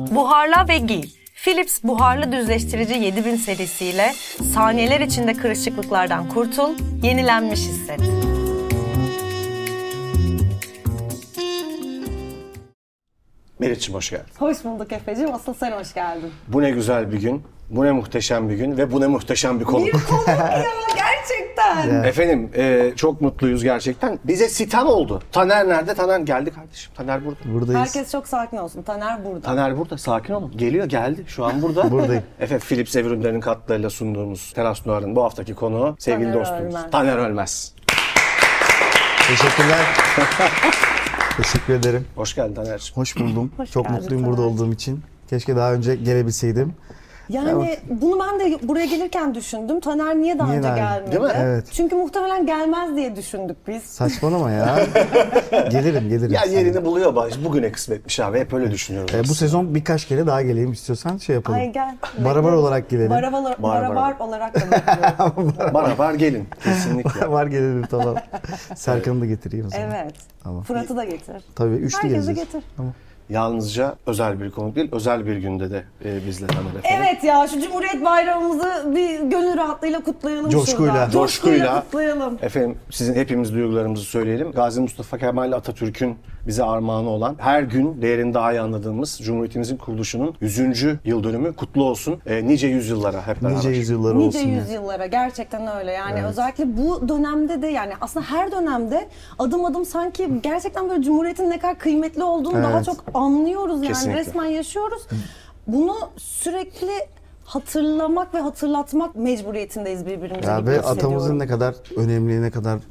Yıka ve giy. Philips buharlı düzleştirici 7000 serisiyle saniyeler içinde kırışıklıklardan kurtul, yenilenmiş hisset. Meriç'im hoş geldin. Hoş bulduk Efe'cim. Asıl sen hoş geldin. Bu ne güzel bir gün, bu ne muhteşem bir gün ve bu ne muhteşem bir konuk. Konuk ya gerçekten. Efendim e, çok mutluyuz gerçekten. Bize sitem oldu. Taner nerede? Taner geldi kardeşim. Taner burada. Buradayız. Herkes çok sakin olsun. Taner burada. Taner burada. Sakin olun. Geliyor geldi. Şu an burada. Buradayım. Efendim Philips ev ürünlerinin katkılarıyla sunduğumuz Teras Noir'ın bu haftaki konuğu sevgili Taner dostumuz Ölmez. Taner Ölmez. Teşekkürler. Teşekkür ederim. Hoş geldin Taner'cim. Hoş buldum. Hoş Çok geldin mutluyum Taner. burada olduğum için. Keşke daha önce gelebilseydim. Yani bunu ben de buraya gelirken düşündüm. Taner niye daha Niye önce daha- gelmedi? Değil mi? Evet. Çünkü muhtemelen gelmez diye düşündük biz. Saçmalama ya. gelirim, gelirim. Ya yerini buluyor bak. Bugüne kısmetmiş abi. Hep öyle düşünüyoruz. E, biz. bu sezon birkaç kere daha geleyim istiyorsan şey yapalım. Ay gel. Barabar olarak gelelim. Barabar, Barbar. barabar olarak da bekliyorum. Bana var gelin. Kesinlikle. Var gelelim tamam. Serkan'ı da getireyim o zaman. evet. Tamam. Fırat'ı da getir. Tabii üçlü Herkesi geleceğiz. getir. Tamam. Yalnızca özel bir konuk değil, özel bir günde de e, bizle Taner efendim. Evet ya şu Cumhuriyet Bayramımızı bir gönül rahatlığıyla kutlayalım Coşkuyla. şurada. coşkuyla kutlayalım. efendim sizin hepimiz duygularımızı söyleyelim. Gazi Mustafa Kemal Atatürk'ün bize armağanı olan her gün değerini daha iyi anladığımız Cumhuriyetimizin kuruluşunun 100. yıl dönümü kutlu olsun. E, nice yüzyıllara hep beraber. Nice yüzyıllar Nice olsun. ya. yüzyıllara gerçekten öyle yani özellikle bu dönemde de yani aslında her dönemde adım adım sanki gerçekten böyle cumhuriyetin ne kadar kıymetli olduğunu daha Evet. çok anlıyoruz yani Kesinlikle. resmen yaşıyoruz. Bunu sürekli hatırlamak ve hatırlatmak mecburiyetindeyiz birbirimize. Ya ve gibi hissediyorum. atamızın ne kadar önemli, ne kadar hani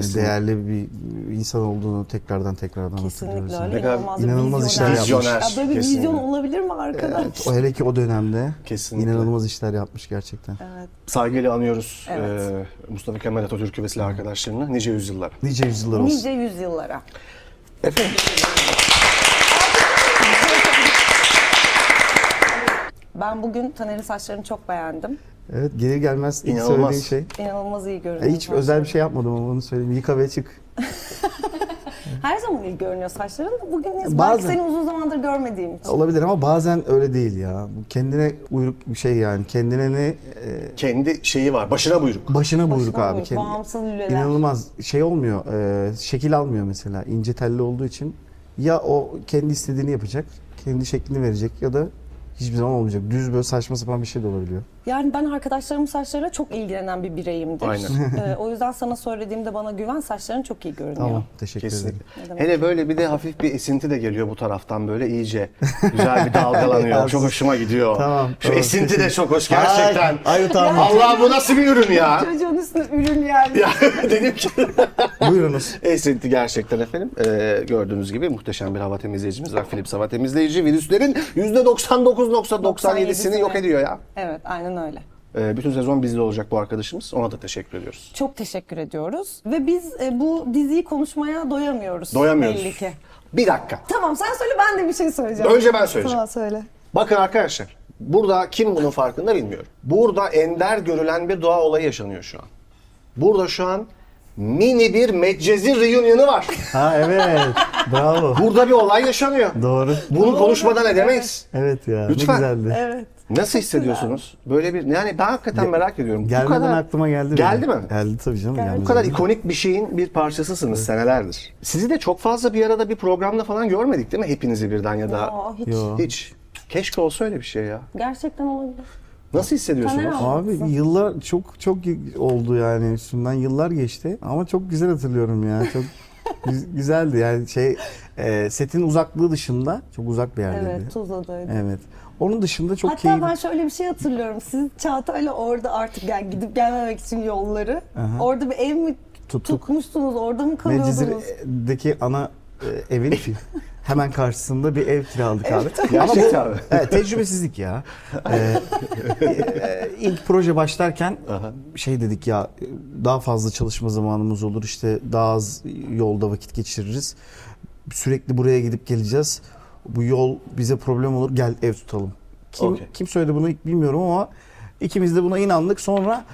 Kesinlikle. değerli bir insan olduğunu tekrardan tekrardan hatırlıyoruz. Kesinlikle yani. öyle kadar inanılmaz, bir inanılmaz işler yapmış. Ya böyle bir Kesinlikle. vizyon olabilir mi arkadaş? O hele ki o dönemde Kesinlikle. inanılmaz işler yapmış gerçekten. Saygıyla anıyoruz Evet. e, Mustafa Kemal Atatürk'ü ve silah arkadaşlarını nice yüzyıllara. Nice yüzyıllar olsun. Nice yüzyıllara. Efendim Ben bugün Taner'in saçlarını çok beğendim. Evet gelir gelmez ilk İnanılmaz. söylediğin şey. İnanılmaz iyi görünüyor. E, hiç özel bir şey yapmadım ama onu söyleyeyim. Yıka ve çık. Her zaman iyi görünüyor saçların da bugün neyse, şey. E, belki Bazen. seni uzun zamandır görmediğim için. Olabilir ama bazen öyle değil ya. Bu kendine uyruk bir şey yani. Kendine ne? e, kendi şeyi var. Başına buyruk. başına buyruk Başına abi. buyruk, bağımsız lüleler. İnanılmaz şey olmuyor. e, şekil almıyor mesela. ince telli olduğu için. Ya o kendi istediğini yapacak. Kendi şeklini verecek ya da hiçbir zaman olmayacak. Düz böyle saçma sapan bir şey de olabiliyor. Yani ben arkadaşlarımın saçlarıyla çok ilgilenen bir bireyimdir. Aynen. Ee, o yüzden sana söylediğimde bana güven saçların çok iyi görünüyor. Tamam. Teşekkür Kesinlikle. ederim. Hele böyle bir de hafif bir esinti de geliyor bu taraftan böyle iyice güzel bir dalgalanıyor. çok hoşuma gidiyor. Tamam, Şu tamam, esinti de teşekkür- çok hoş gerçekten. Ay, ay utandım. Allah bu nasıl bir ürün ya? Çocuğun üstüne ürün yani. ya dedim ki Buyurunuz. esinti gerçekten efendim. Ee, gördüğünüz gibi muhteşem bir hava temizleyicimiz var. Philips hava temizleyici virüslerin %99.97'sini yok ediyor ya. Evet aynen öyle. Ee, bütün sezon bizde olacak bu arkadaşımız. Ona da teşekkür ediyoruz. Çok teşekkür ediyoruz. Ve biz e, bu diziyi konuşmaya doyamıyoruz. Doyamıyoruz. Belli ki. Bir dakika. Tamam sen söyle ben de bir şey söyleyeceğim. Önce ben söyleyeceğim. Tamam söyle. Bakın arkadaşlar burada kim bunun farkında bilmiyorum. Burada ender görülen bir doğa olayı yaşanıyor şu an. Burada şu an mini bir Medcezir reunion'u var. Ha evet. Bravo. Burada bir olay yaşanıyor. Doğru. Bunu konuşmadan edemeyiz. Evet ya. Lütfen. Ne güzeldi. Evet. Nasıl hissediyorsunuz? Böyle bir yani ben hakikaten merak ediyorum. Bu Gelmeden kadar, aklıma geldi. Geldi benim. mi? Geldi tabii canım. şey Bu gelmez kadar olur mu? ikonik bir şeyin bir parçasısınız senelerdir. Sizi de çok fazla bir arada bir programla falan görmedik değil mi? Hepinizi birden ya da Aa, hiç. Yo. hiç. Keşke olsa öyle bir şey ya. Gerçekten olabilir. Nasıl hissediyorsunuz? Taner Abi yıllar çok çok oldu yani üstünden yıllar geçti ama çok güzel hatırlıyorum ya çok gü- güzeldi yani şey e, setin uzaklığı dışında çok uzak bir yerdeydi. Evet Tuzla'daydı. Evet. Onun dışında çok Hatta keyifli. ben şöyle bir şey hatırlıyorum. Siz Çağatay'la orada artık yani gidip gelmemek için yolları. Orada bir ev mi Tuttuk. tutmuştunuz? Orada mı kalıyordunuz? Medcezir'deki ana e, evin hemen karşısında bir ev kiraladık abi. Gerçekten mi? Evet, tecrübesizlik ya. Ee, e, ilk proje başlarken şey dedik ya daha fazla çalışma zamanımız olur işte daha az yolda vakit geçiririz. Sürekli buraya gidip geleceğiz. Bu yol bize problem olur gel ev tutalım. Kim, Okey. kim söyledi bunu ilk bilmiyorum ama ikimiz de buna inandık. Sonra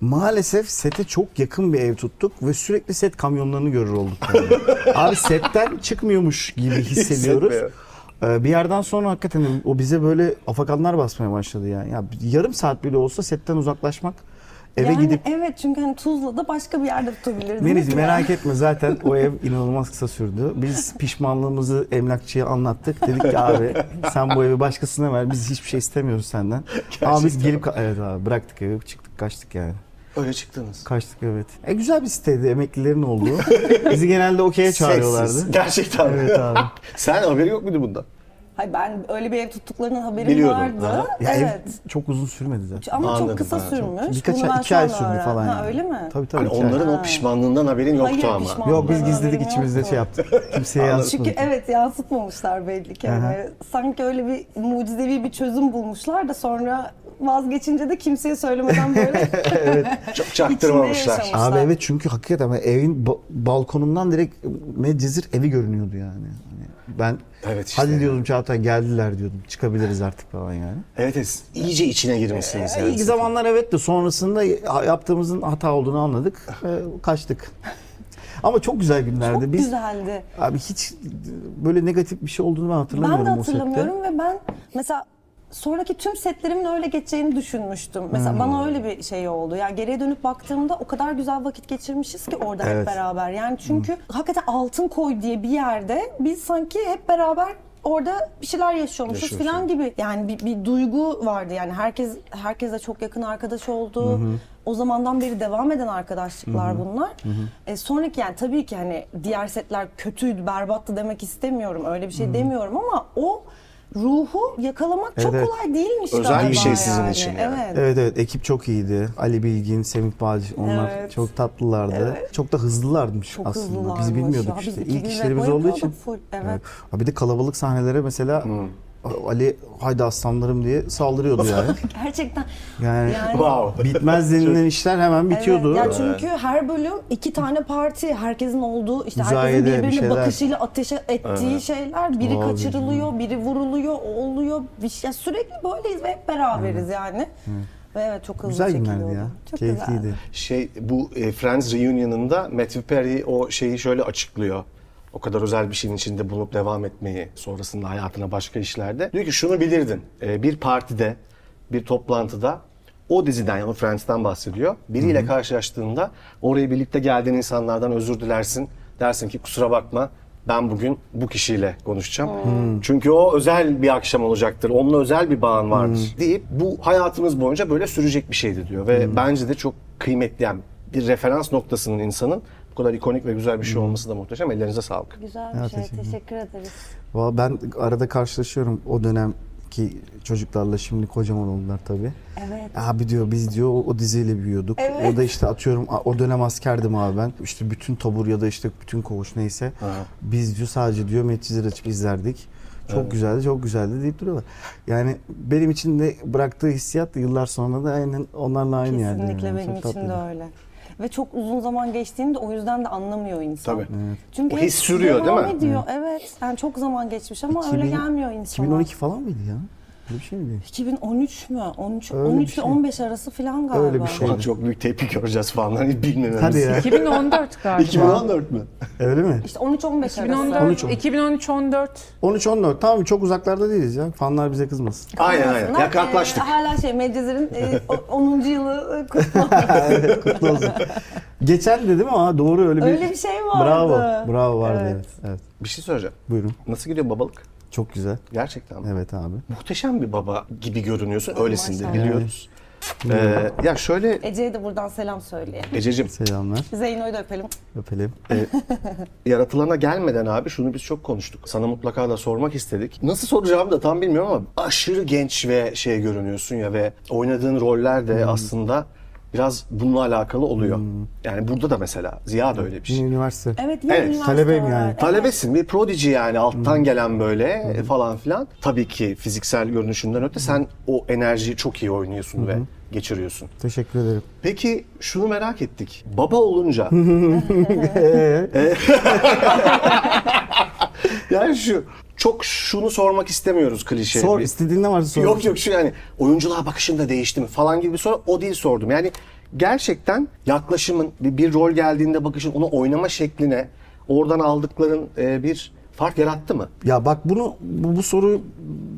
maalesef sete çok yakın bir ev tuttuk ve sürekli set kamyonlarını görür olduk. yani. Abi setten çıkmıyormuş gibi hissediyoruz. Hissetmiyor. Ee, bir yerden sonra hakikaten o bize böyle afakanlar basmaya başladı yani. Ya yarım saat bile olsa setten uzaklaşmak, eve yani gidip evet çünkü hani Tuzla'da başka bir yerde tutabilirdiniz. Denizciğim yani. merak etme zaten o ev inanılmaz kısa sürdü. Biz pişmanlığımızı emlakçıya anlattık. Dedik ki abi sen bu evi başkasına ver biz hiçbir şey istemiyoruz senden. Ama biz gelip evet abi bıraktık evi çıktık kaçtık yani. Öyle çıktınız. Kaçtık evet. E, güzel bir siteydi emeklilerin olduğu. Bizi genelde okey'e çağırıyorlardı. Sessiz. Gerçekten. Evet abi. Sen haberi yok muydu bundan? Hayır ben öyle bir ev tuttuklarının haberim Biliyordum. vardı. Aha. Ya ev evet. çok uzun sürmedi zaten. Ama Anladım, çok kısa ha, çok- sürmüş. Birkaç Bunu ben ay, iki ay sonra sürdü öğrendim. falan yani. Ha, öyle mi? Tabii tabii. Hani iki ay. onların o pişmanlığından haberin yoktu Hayır, ama. pişman- Yok biz Onların gizledik haberi içimizde yoktu. şey yaptık. Kimseye yansıtmadık. Çünkü evet yansıtmamışlar belli ki. Aha. Yani sanki öyle bir mucizevi bir çözüm bulmuşlar da sonra vazgeçince de kimseye söylemeden böyle Çok çaktırmamışlar. yaşamış. Abi Mesela. evet çünkü hakikaten ben evin ba- balkonundan direkt Medcezir evi görünüyordu yani. Hani ben Evet işte. hadi diyordum Çağatay geldiler diyordum çıkabiliriz artık falan yani. Evet, evet. iyice içine girmişsiniz. yani. İlk zamanlar evet de sonrasında yaptığımızın hata olduğunu anladık. Ee, kaçtık. Ama çok güzel günlerdi. çok Biz güzeldi. abi hiç böyle negatif bir şey olduğunu ben hatırlamıyorum Ben de o sette. hatırlamıyorum ve ben mesela sonraki tüm setlerimin öyle geçeceğini düşünmüştüm. Mesela Hmm. bana öyle bir şey oldu. Yani geriye dönüp baktığımda o kadar güzel vakit geçirmişiz ki orada Evet. hep beraber. Yani çünkü hakikaten altın koy diye bir yerde biz sanki hep beraber orada bir şeyler yaşıyormuşuz Yaşıyorsun. falan gibi. Yani bir, bir duygu vardı. Yani herkes herkese çok yakın arkadaş oldu. O zamandan beri devam eden arkadaşlıklar bunlar. E, sonraki yani tabii ki hani diğer setler kötüydü, berbattı demek istemiyorum. Öyle bir şey demiyorum ama o ruhu yakalamak çok Evet. kolay değilmiş Özel bir galiba şey sizin için yani. Evet. Evet evet ekip çok iyiydi. Ali Bilgin, Semih Bağcı onlar Evet. çok tatlılardı. Çok da hızlılarmış Çok aslında. hızlılarmış Biz ya. bilmiyorduk Biz işte. İlk birbirine işlerimiz olduğu için. bayılıyorduk full, evet. Ha Bir de kalabalık sahnelere mesela Ali haydi aslanlarım diye saldırıyordu yani. Gerçekten. Yani, Wow. bitmez denilen işler hemen bitiyordu. Evet, ya çünkü her bölüm iki tane parti, herkesin olduğu, işte herkesin Müzayede bir birbirine şeyler. bakışıyla ateşe ettiği şeyler, biri Abi. kaçırılıyor, biri vuruluyor, o oluyor, bir şey, ya sürekli böyleyiz ve hep beraberiz yani. Ve evet çok hızlı Güzel şekilde günlerdi oldu. ya. Çok Keyifliydi. güzeldi. şey bu e, Friends reunion'ında Matthew Perry o şeyi şöyle açıklıyor. O kadar özel bir şeyin içinde bulup devam etmeyi sonrasında hayatına başka işlerde. Diyor ki şunu bilirdin. e, bir partide, bir toplantıda o diziden yani Friends'ten bahsediyor. Biriyle karşılaştığında oraya birlikte geldiğin insanlardan özür dilersin. Dersin ki kusura bakma ben bugün bu kişiyle konuşacağım. Hmm. Çünkü o özel bir akşam olacaktır. Onunla özel bir bağın vardır deyip bu hayatımız boyunca böyle sürecek bir şeydi diyor. Ve Hmm. bence de çok kıymetli yani bir referans noktasının insanın bu kadar ikonik ve güzel bir Hmm. şey olması da muhteşem. Ellerinize sağlık. Güzel bir Ya, şey. teşekkür ederim. Teşekkür ederiz. Valla ben arada karşılaşıyorum o dönemki çocuklarla şimdi kocaman oldular tabii. Evet. E Abi diyor biz diyor o, o diziyle büyüyorduk. O da işte atıyorum a- o dönem askerdim abi ben. İşte bütün tabur ya da işte bütün koğuş neyse. Biz diyor sadece diyor Metcizir açıp izlerdik. Çok güzeldi, çok güzeldi deyip duruyorlar. Yani benim için de bıraktığı hissiyat da yıllar sonra da aynen onlarla aynı yerde. Kesinlikle yani. benim Çok için de tatlıydı. öyle. Ve çok uzun zaman geçtiğini de o yüzden de anlamıyor insan. Tabii. Çünkü O his sürüyor, devam değil mi? Ediyor. Evet. Yani çok zaman geçmiş ama 2000 öyle gelmiyor insana. 2012 falan mıydı ya? Öyle bir şey miydi? 2013 mü? 13, Öyle bir 13 şey. ile 15 arası filan galiba. Öyle bir şey. Şu an çok büyük tepki göreceğiz falan. Hani bilmememiz. Hadi ya. 2014 galiba. 2014 mü? Öyle mi? İşte 13-15 arası. 2014, 2013-14. 13-14 tamam çok uzaklarda değiliz ya. Fanlar bize kızmasın. Aynen aynen. Aslında, Ya kalklaştık. e, hala şey Medcezir'in e, o- 10. yılı e, kutlu. Kutlu olsun. Geçen de değil mi? Aa, doğru öyle bir... Öyle bir şey vardı. Bravo. Bravo vardı evet. Evet. evet. e, Bir şey söyleyeceğim. Buyurun. Nasıl gidiyor babalık? Çok güzel. Gerçekten mi? Evet abi. Muhteşem bir baba gibi görünüyorsun. Öylesin de Maşallah. biliyoruz. Hmm. Ee, ya şöyle Ece'ye de buradan selam söyleyelim. Ececiğim Selamlar. Zeyno'yu da öpelim. Öpelim. yaratılana gelmeden abi şunu biz çok konuştuk. Sana mutlaka da sormak istedik. Nasıl soracağımı da tam bilmiyorum ama aşırı genç ve şey görünüyorsun ya ve oynadığın roller de aslında biraz bununla alakalı oluyor. Yani burada da mesela Ziya da öyle bir şey. Yine üniversite. Evet, yeni Evet, üniversite talebeyim var. yani. Talebesin bir prodigy yani alttan gelen böyle e, falan filan. Tabii ki fiziksel görünüşünden öte sen o enerjiyi çok iyi oynuyorsun ve geçiriyorsun. Teşekkür ederim. Peki şunu merak ettik. Baba olunca E, yani şu çok şunu sormak istemiyoruz klişe. Sor bir- istediğin ne varsa sor. Yok yok şu yani oyunculuğa bakışın da değişti mi falan gibi bir soru o değil sordum. Yani gerçekten yaklaşımın bir, bir rol geldiğinde bakışın onu oynama şekline oradan aldıkların e, bir fark yarattı mı? Ya bak bunu bu, bu soru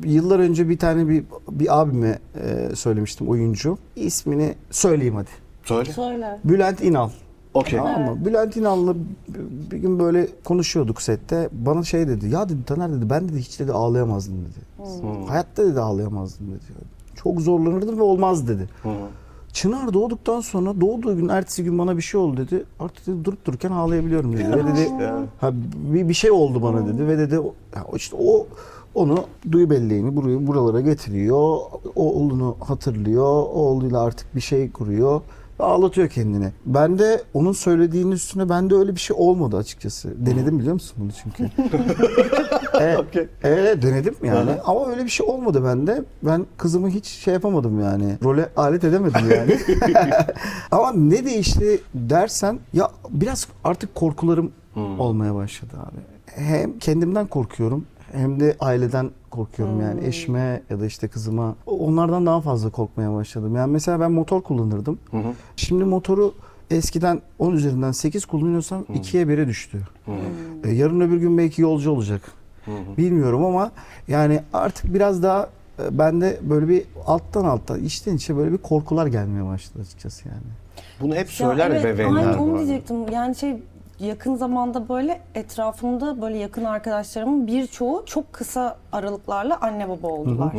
yıllar önce bir tane bir bir abime e, söylemiştim oyuncu. İsmini söyleyeyim hadi. Söyle. Söyle. Bülent İnal. Okey. Tamam mı? Bülent İnal'la bir- bir gün böyle konuşuyorduk sette. Bana şey dedi. Ya dedi Taner dedi ben dedi hiç dedi ağlayamazdım dedi. Hayatta dedi ağlayamazdım dedi. Çok zorlanırdım ve olmaz dedi. Çınar doğduktan sonra doğduğu gün ertesi gün bana bir şey oldu dedi. Artık dedi, durup dururken ağlayabiliyorum dedi. Ve dedi ha, bir, bir şey oldu bana dedi ve dedi o- ya işte o onu duyu belleğini buraya buralara getiriyor. Oğlunu hatırlıyor. Oğluyla artık bir şey kuruyor. Ve ağlatıyor kendini. Ben de onun söylediğinin üstüne bende öyle bir şey olmadı açıkçası. Denedim biliyor musun bunu çünkü? e, e, denedim yani. Ama öyle bir şey olmadı bende. Ben kızımı hiç şey yapamadım yani. Role alet edemedim yani. Ama ne değişti dersen ya biraz artık korkularım olmaya başladı abi. Hem kendimden korkuyorum hem de aileden korkuyorum yani eşime ya da işte kızıma onlardan daha fazla korkmaya başladım. Yani mesela ben motor kullanırdım. Şimdi motoru eskiden 10 üzerinden 8 kullanıyorsam 2'ye 1'e düştü. E, yarın öbür gün belki yolcu olacak. Bilmiyorum ama yani artık biraz daha e, bende böyle bir alttan alttan içten içe böyle bir korkular gelmeye başladı açıkçası yani. Bunu hep Ya söyler evet, bebeğinler Aynen bu onu arada. diyecektim. Yani şey yakın zamanda böyle etrafımda böyle yakın arkadaşlarımın birçoğu çok kısa aralıklarla anne baba oldular.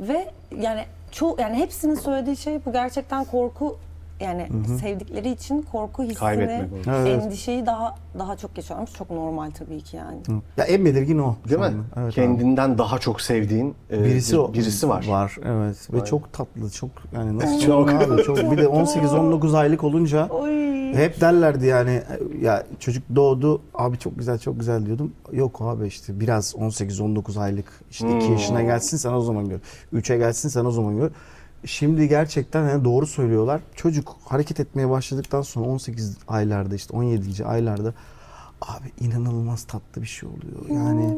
Ve yani çoğu yani hepsinin söylediği şey bu gerçekten korku yani sevdikleri için korku hissini, Kaybetmek. Evet. endişeyi daha daha çok yaşarmış. Çok normal tabii ki yani. Ya en belirgin o. şu Değil mi? anda. Evet, abi. Kendinden daha çok sevdiğin e, birisi o. birisi var. Var evet ve çok tatlı çok yani nasıl Çok. çok. çok bir de 18 19 aylık olunca Oy. hep derlerdi yani ya çocuk doğdu abi çok güzel çok güzel diyordum. Yok abi işte biraz 18 19 aylık işte 2 yaşına gelsin sen o zaman gör. 3'e gelsin sen o zaman gör. Şimdi gerçekten yani doğru söylüyorlar. Çocuk hareket etmeye başladıktan sonra 18 aylarda işte 17. aylarda abi inanılmaz tatlı bir şey oluyor. Yani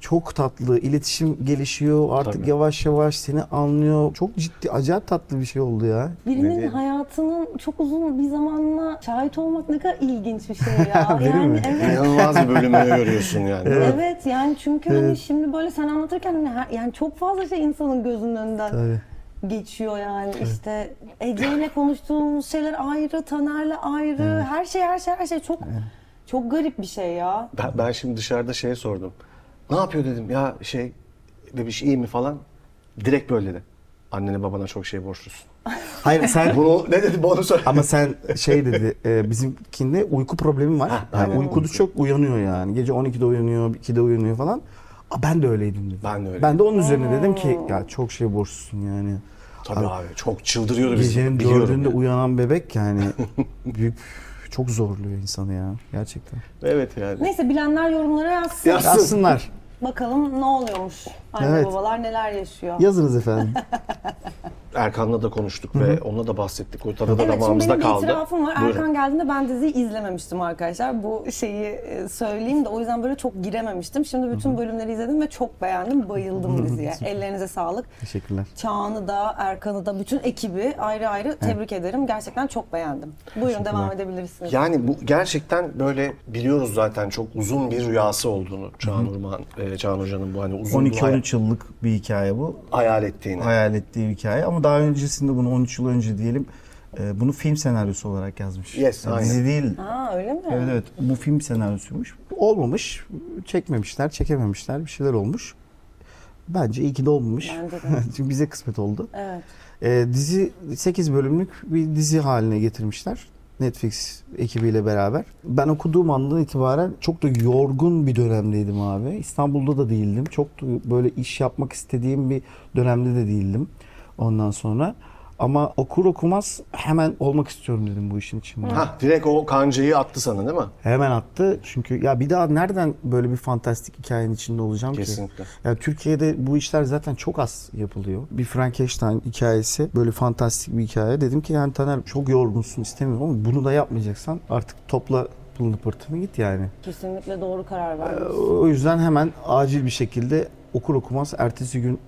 çok tatlı. iletişim gelişiyor. Artık Tabii. yavaş yavaş seni anlıyor. Çok ciddi, acayip tatlı bir şey oldu ya. Ne Birinin diyeyim? hayatının çok uzun bir zamanla şahit olmak ne kadar ilginç bir şey ya. Değil yani mi? evet. İnanılmaz bir bölümü görüyorsun yani. değil mi? Evet yani çünkü hani şimdi böyle sen anlatırken hani her- yani çok fazla şey insanın gözünün önünden Tabii. geçiyor yani işte Ece'yle konuştuğumuz şeyler ayrı, Taner'le ayrı, her şey her şey her şey çok çok garip bir şey ya. Ben, ben şimdi dışarıda şey sordum. Ne yapıyor dedim ya şey bebiş iyi mi falan. Direkt böyle dedi. Annene babana çok şey borçlusun. Hayır sen Bunu ne dedi bana söyle. ama sen şey dedi e, bizimkinde uyku problemi var. Yani uykuda çok uyanıyor yani. Gece 12'de uyanıyor, 2'de uyanıyor falan. Aa, ben de öyleydim dedi. Ben de öyle. Ben de onun üzerine dedim ki ya çok şey borçlusun yani. Tabii abi çok çıldırıyordu bizi. Gecenin biliyorum dördünde yani. uyanan bebek yani büyük çok zorluyor insanı ya gerçekten. Evet yani. Neyse bilenler yorumlara yazsın. Ya- Yazsın. Yazsınlar. Bakalım ne oluyormuş. Anne Evet. babalar neler yaşıyor. Yazınız efendim. Erkan'la da konuştuk ve onunla da bahsettik. O tadı da Evet şimdi damağımızda benim bir kaldı. itirafım var. Buyurun. Erkan geldiğinde ben diziyi izlememiştim arkadaşlar. Bu şeyi e, söyleyeyim de o yüzden böyle çok girememiştim. Şimdi bütün bölümleri izledim ve çok beğendim. Bayıldım diziye. Ellerinize sağlık. Teşekkürler. Çağan'ı da, Erkan'ı da, bütün ekibi ayrı ayrı tebrik ederim. Gerçekten çok beğendim. Buyurun devam edebilirsiniz. Yani bu gerçekten böyle biliyoruz zaten çok uzun bir rüyası olduğunu Çağan Urman, e, Çağan Hoca'nın bu hani uzun bir hay- 12-13 yıllık bir hikaye bu. hayal ettiğini. Hayal ettiği hikaye ama daha öncesinde bunu 13 yıl önce diyelim e, bunu film senaryosu olarak yazmış. Yes, yani aynen. dizi değil. Aa öyle mi? Evet evet bu film senaryosuymuş. Olmamış. Çekmemişler, çekememişler. Bir şeyler olmuş. Bence iyi ki de olmamış. Bence de. Çünkü bize kısmet oldu. Evet. E, dizi 8 bölümlük bir dizi haline getirmişler. Netflix ekibiyle beraber. Ben okuduğum andan itibaren çok da yorgun bir dönemdeydim abi. İstanbul'da da değildim. Çok da böyle iş yapmak istediğim bir dönemde de değildim ondan sonra. Ama okur okumaz hemen olmak istiyorum dedim bu işin içinde. Hah, direkt o kancayı attı sana değil mi? Hemen attı. Çünkü ya bir daha nereden böyle bir fantastik hikayenin içinde olacağım Kesinlikle. ki? Ya Türkiye'de bu işler zaten çok az yapılıyor. Bir Frankenstein hikayesi böyle fantastik bir hikaye. Dedim ki yani Taner çok yorgunsun istemiyorum ama bunu da yapmayacaksan artık topla pılını pırtını git yani. Ee, Kesinlikle doğru karar verdiniz. O yüzden hemen acil bir şekilde okur okumaz ertesi gün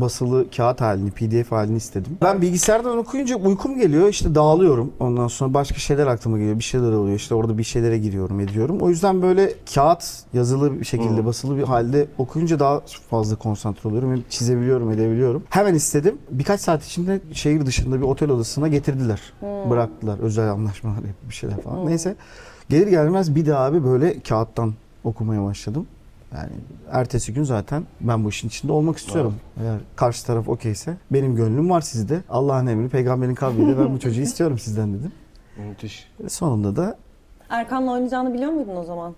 basılı kağıt halini, pdf halini istedim. Ben bilgisayardan okuyunca uykum geliyor işte dağılıyorum. Ondan sonra başka şeyler aklıma geliyor. Bir şeyler oluyor işte orada bir şeylere giriyorum ediyorum. O yüzden böyle kağıt yazılı bir şekilde basılı bir halde okuyunca daha fazla konsantre oluyorum. Hem çizebiliyorum edebiliyorum. Hemen istedim. Birkaç saat içinde şehir dışında bir otel odasına getirdiler. Bıraktılar özel anlaşmalar yapıp bir şeyler falan. Neyse gelir gelmez bir daha abi böyle kağıttan okumaya başladım. Yani ertesi gün zaten ben bu işin içinde olmak istiyorum. Eğer karşı taraf okeyse benim gönlüm var sizde. Allah'ın emri peygamberin kavliyle ben bu çocuğu istiyorum sizden dedim. Müthiş. Sonunda da Erkan'la oynayacağını biliyor muydun o zaman?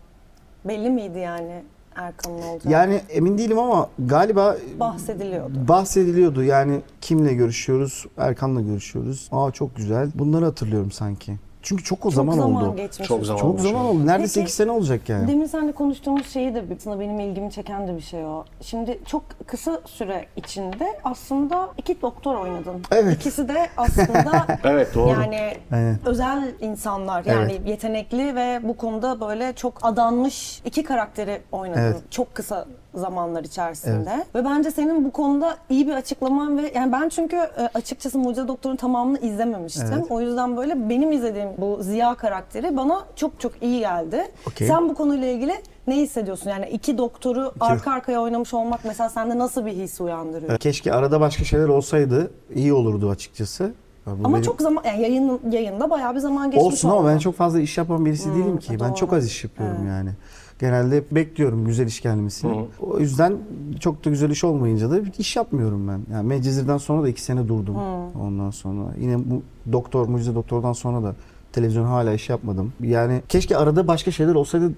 Belli miydi yani Erkan'ın olacağı? yani emin değilim ama galiba bahsediliyordu. bahsediliyordu. Yani kimle görüşüyoruz? Erkan'la görüşüyoruz. Aa çok güzel. Bunları hatırlıyorum sanki. Çünkü çok o Çok zaman, zaman, oldu. geçmiş. Çok zaman Çok olmuş. zaman oldu. Neredeyse Peki- 8 sene olacak yani. Demin seninle konuştuğumuz şeyi de aslında benim ilgimi çeken de bir şey o. Şimdi çok kısa süre içinde aslında iki doktor oynadın. Evet. İkisi de aslında Evet doğru. yani Aynen. özel insanlar yani yetenekli ve bu konuda böyle çok adanmış iki karakteri oynadın Evet. çok kısa zamanlar içerisinde. Ve bence senin bu konuda iyi bir açıklaman ve yani ben çünkü e, açıkçası Mucize Doktor'un tamamını izlememiştim. O yüzden böyle benim izlediğim bu Ziya karakteri bana çok çok iyi geldi. Okey. Sen bu konuyla ilgili ne hissediyorsun? Yani iki doktoru arka arkaya oynamış olmak mesela sende nasıl bir his uyandırıyor? Keşke arada başka şeyler olsaydı iyi olurdu açıkçası. Ya bu Ama benim- çok zaman yani yayın, yayında bayağı bir zaman geçmiş Olsun ama oldu. ben çok fazla iş yapan birisi değilim ki. Ben doğru. çok az iş yapıyorum yani. Genelde hep bekliyorum güzel iş gelmesini. O yüzden çok da güzel iş olmayınca da iş yapmıyorum ben. Yani Medcezir'den sonra da iki sene durdum. Ondan sonra yine bu doktor, mucize doktordan sonra da televizyon hala iş yapmadım. Yani keşke arada başka şeyler olsaydı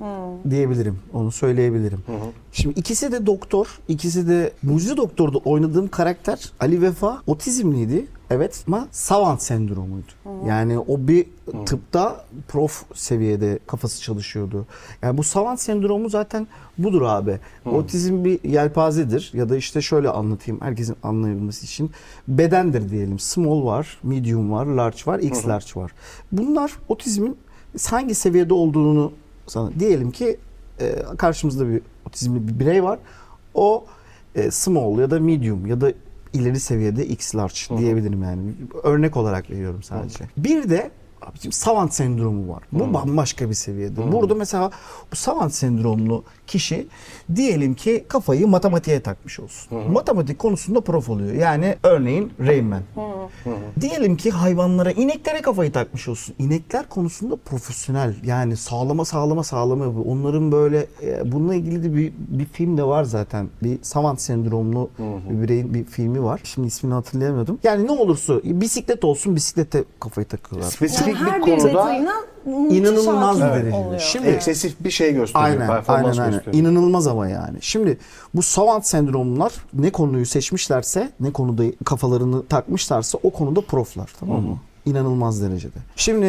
diyebilirim. Onu söyleyebilirim. Şimdi ikisi de doktor, ikisi de mucize doktorda oynadığım karakter Ali Vefa otizmliydi. Evet ama savant sendromuydu. Yani o bir tıpta prof seviyede kafası çalışıyordu. Yani bu savant sendromu zaten budur abi. Otizm bir yelpazedir ya da işte şöyle anlatayım herkesin anlayabilmesi için. Bedendir diyelim. Small var, medium var, large var, x large var. Bunlar otizmin hangi seviyede olduğunu sana diyelim ki e, karşımızda bir otizmli bir birey var. O e, small ya da medium ya da ileri seviyede X large diyebilirim yani. Örnek olarak veriyorum sadece. Bir de abicim savant sendromu var. Bu bambaşka bir seviyede. Burada mesela bu savant sendromlu kişi diyelim ki kafayı matematiğe takmış olsun. Matematik konusunda prof oluyor. Yani örneğin Rayman. Diyelim ki hayvanlara, ineklere kafayı takmış olsun. İnekler konusunda profesyonel. Yani sağlama sağlama sağlama yapıyor. Onların böyle e, bununla ilgili de bir, bir film de var zaten. Bir Savant sendromlu bir bireyin bir filmi var. Şimdi ismini hatırlayamıyordum. Yani ne olursa bisiklet olsun bisiklete kafayı takıyorlar. Spesifik her bir bir konuda detayına müthiş İnanılmaz bir hakim derecede. oluyor. Şimdi- Evet. eksesif bir şey gösteriyor. Aynen, performans aynen, aynen. gösteriyor. İnanılmaz ama yani. Şimdi bu savant sendromlar ne konuyu seçmişlerse, ne konuda kafalarını takmışlarsa o konuda proflar tamam mı? İnanılmaz derecede. Şimdi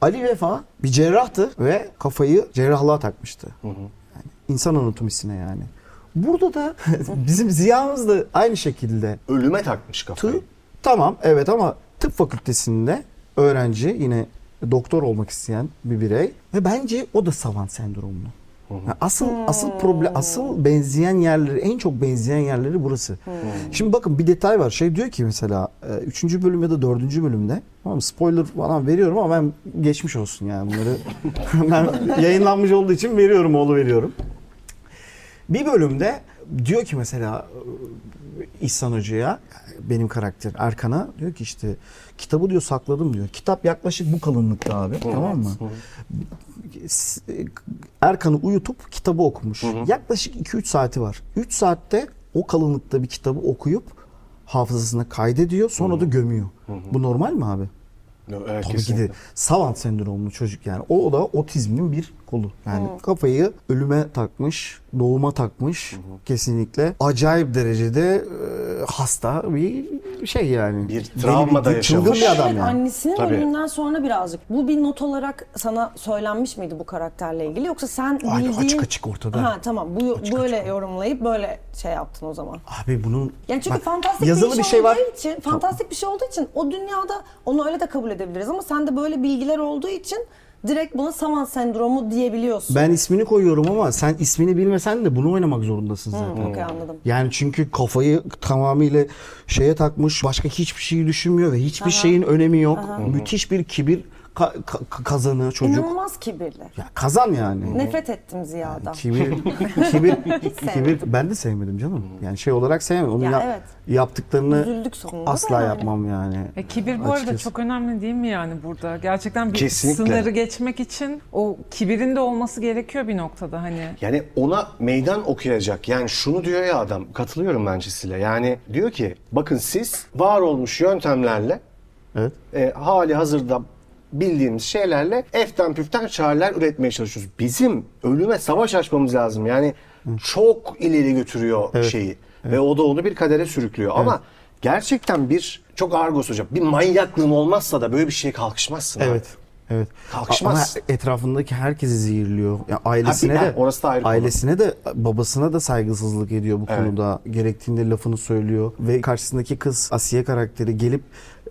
Ali Vefa bir cerrahtı ve kafayı cerrahlığa takmıştı. Yani insan anatomisine yani. Burada da bizim ziyamız da aynı şekilde Ölüme takmış kafayı. Tıp tamam evet ama tıp fakültesinde öğrenci yine doktor olmak isteyen bir birey ve bence o da savant sendromlu. Yani asıl asıl problem asıl benzeyen yerleri en çok benzeyen yerleri burası. Şimdi bakın bir detay var. Şey diyor ki mesela 3. bölüm ya da 4. bölümde tamam mı? spoiler falan veriyorum ama ben geçmiş olsun yani bunları ben yayınlanmış olduğu için veriyorum oğlu veriyorum. Bir bölümde diyor ki mesela İhsan Hoca'ya benim karakter Erkan'a diyor ki işte kitabı diyor sakladım diyor. Kitap yaklaşık bu kalınlıkta abi tamam mı? S- e, Erkan'ı uyutup kitabı okumuş. Yaklaşık 2-3 saati var. 3 saatte o kalınlıkta bir kitabı okuyup hafızasına kaydediyor sonra da gömüyor. Bu normal mi abi? Evet, Tabii ki kesinlikle. de savant sendromlu çocuk yani. O da otizmin bir kolu. Yani kafayı ölüme takmış, doğuma takmış kesinlikle. Acayip derecede e, hasta bir şey yani. Bir Deli travma da bir- Çılgın yaşamış. bir adam evet, yani. Annesinin Tabii. ölümünden sonra birazcık. Bu bir not olarak sana söylenmiş miydi bu karakterle ilgili yoksa sen Aynı, bildiğin... açık açık ortada. Ha tamam bu böyle yorumlayıp böyle şey yaptın o zaman. Abi bunun Yani çünkü bak, fantastik yazılı bir bir şey, şey var. olduğu için, fantastik bir şey olduğu için o dünyada onu öyle de kabul edebiliriz ama sende böyle bilgiler olduğu için direkt buna saman sendromu diyebiliyorsun. Ben ismini koyuyorum ama sen ismini bilmesen de bunu oynamak zorundasın zaten. Hı, okey, anladım. Yani çünkü kafayı tamamıyla şeye takmış, başka hiçbir şeyi düşünmüyor ve hiçbir şeyin önemi yok. Müthiş bir kibir ka- ka- kazanı çocuk. İnanılmaz kibirli. Ya kazan yani. Nefret ettim Ziya'dan. Kibir, kibir, sevmedim. kibir. Ben de sevmedim canım. Yani şey olarak sevmedim. Onun Ya yap- evet. yaptıklarını Üzüldük sonunda asla da. yapmam yani. E, kibir bu arada Açıkçası. çok önemli değil mi yani burada? Gerçekten bir Kesinlikle. sınırı geçmek için o kibirin de olması gerekiyor bir noktada hani. Yani ona meydan okuyacak. Yani şunu diyor ya adam. Katılıyorum ben Cesi'yle. Yani diyor ki bakın siz var olmuş yöntemlerle Evet. e, hali hazırda bildiğimiz şeylerle eften püften çareler üretmeye çalışıyoruz. Bizim ölüme savaş açmamız lazım. Yani çok ileri götürüyor şeyi. Ve o da onu bir kadere sürüklüyor. Ama gerçekten bir çok argos hocam. Bir manyaklığın olmazsa da böyle bir şeye kalkışmazsın. abi. Evet. Evet. Kalkışmaz. Ama etrafındaki herkesi zehirliyor. Ya ailesine Ha, bir- de ha, orası da ayrı konu. ailesine de babasına da saygısızlık ediyor bu Evet. konuda. Gerektiğinde lafını söylüyor ve karşısındaki kız Asiye karakteri gelip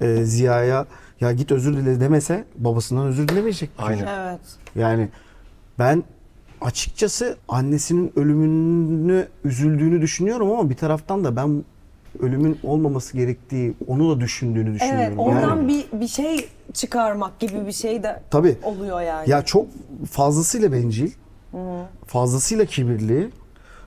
e, Ziya'ya ya git özür dile demese babasından özür dilemeyecek. bu Aynen. çocuk. Evet. Yani ben açıkçası annesinin ölümünü üzüldüğünü düşünüyorum ama bir taraftan da ben ölümün olmaması gerektiği onu da düşündüğünü düşünüyorum. Evet, oradan Yani- bir bir şey çıkarmak gibi bir şey de Tabii. oluyor yani. Ya çok fazlasıyla bencil. Fazlasıyla kibirli.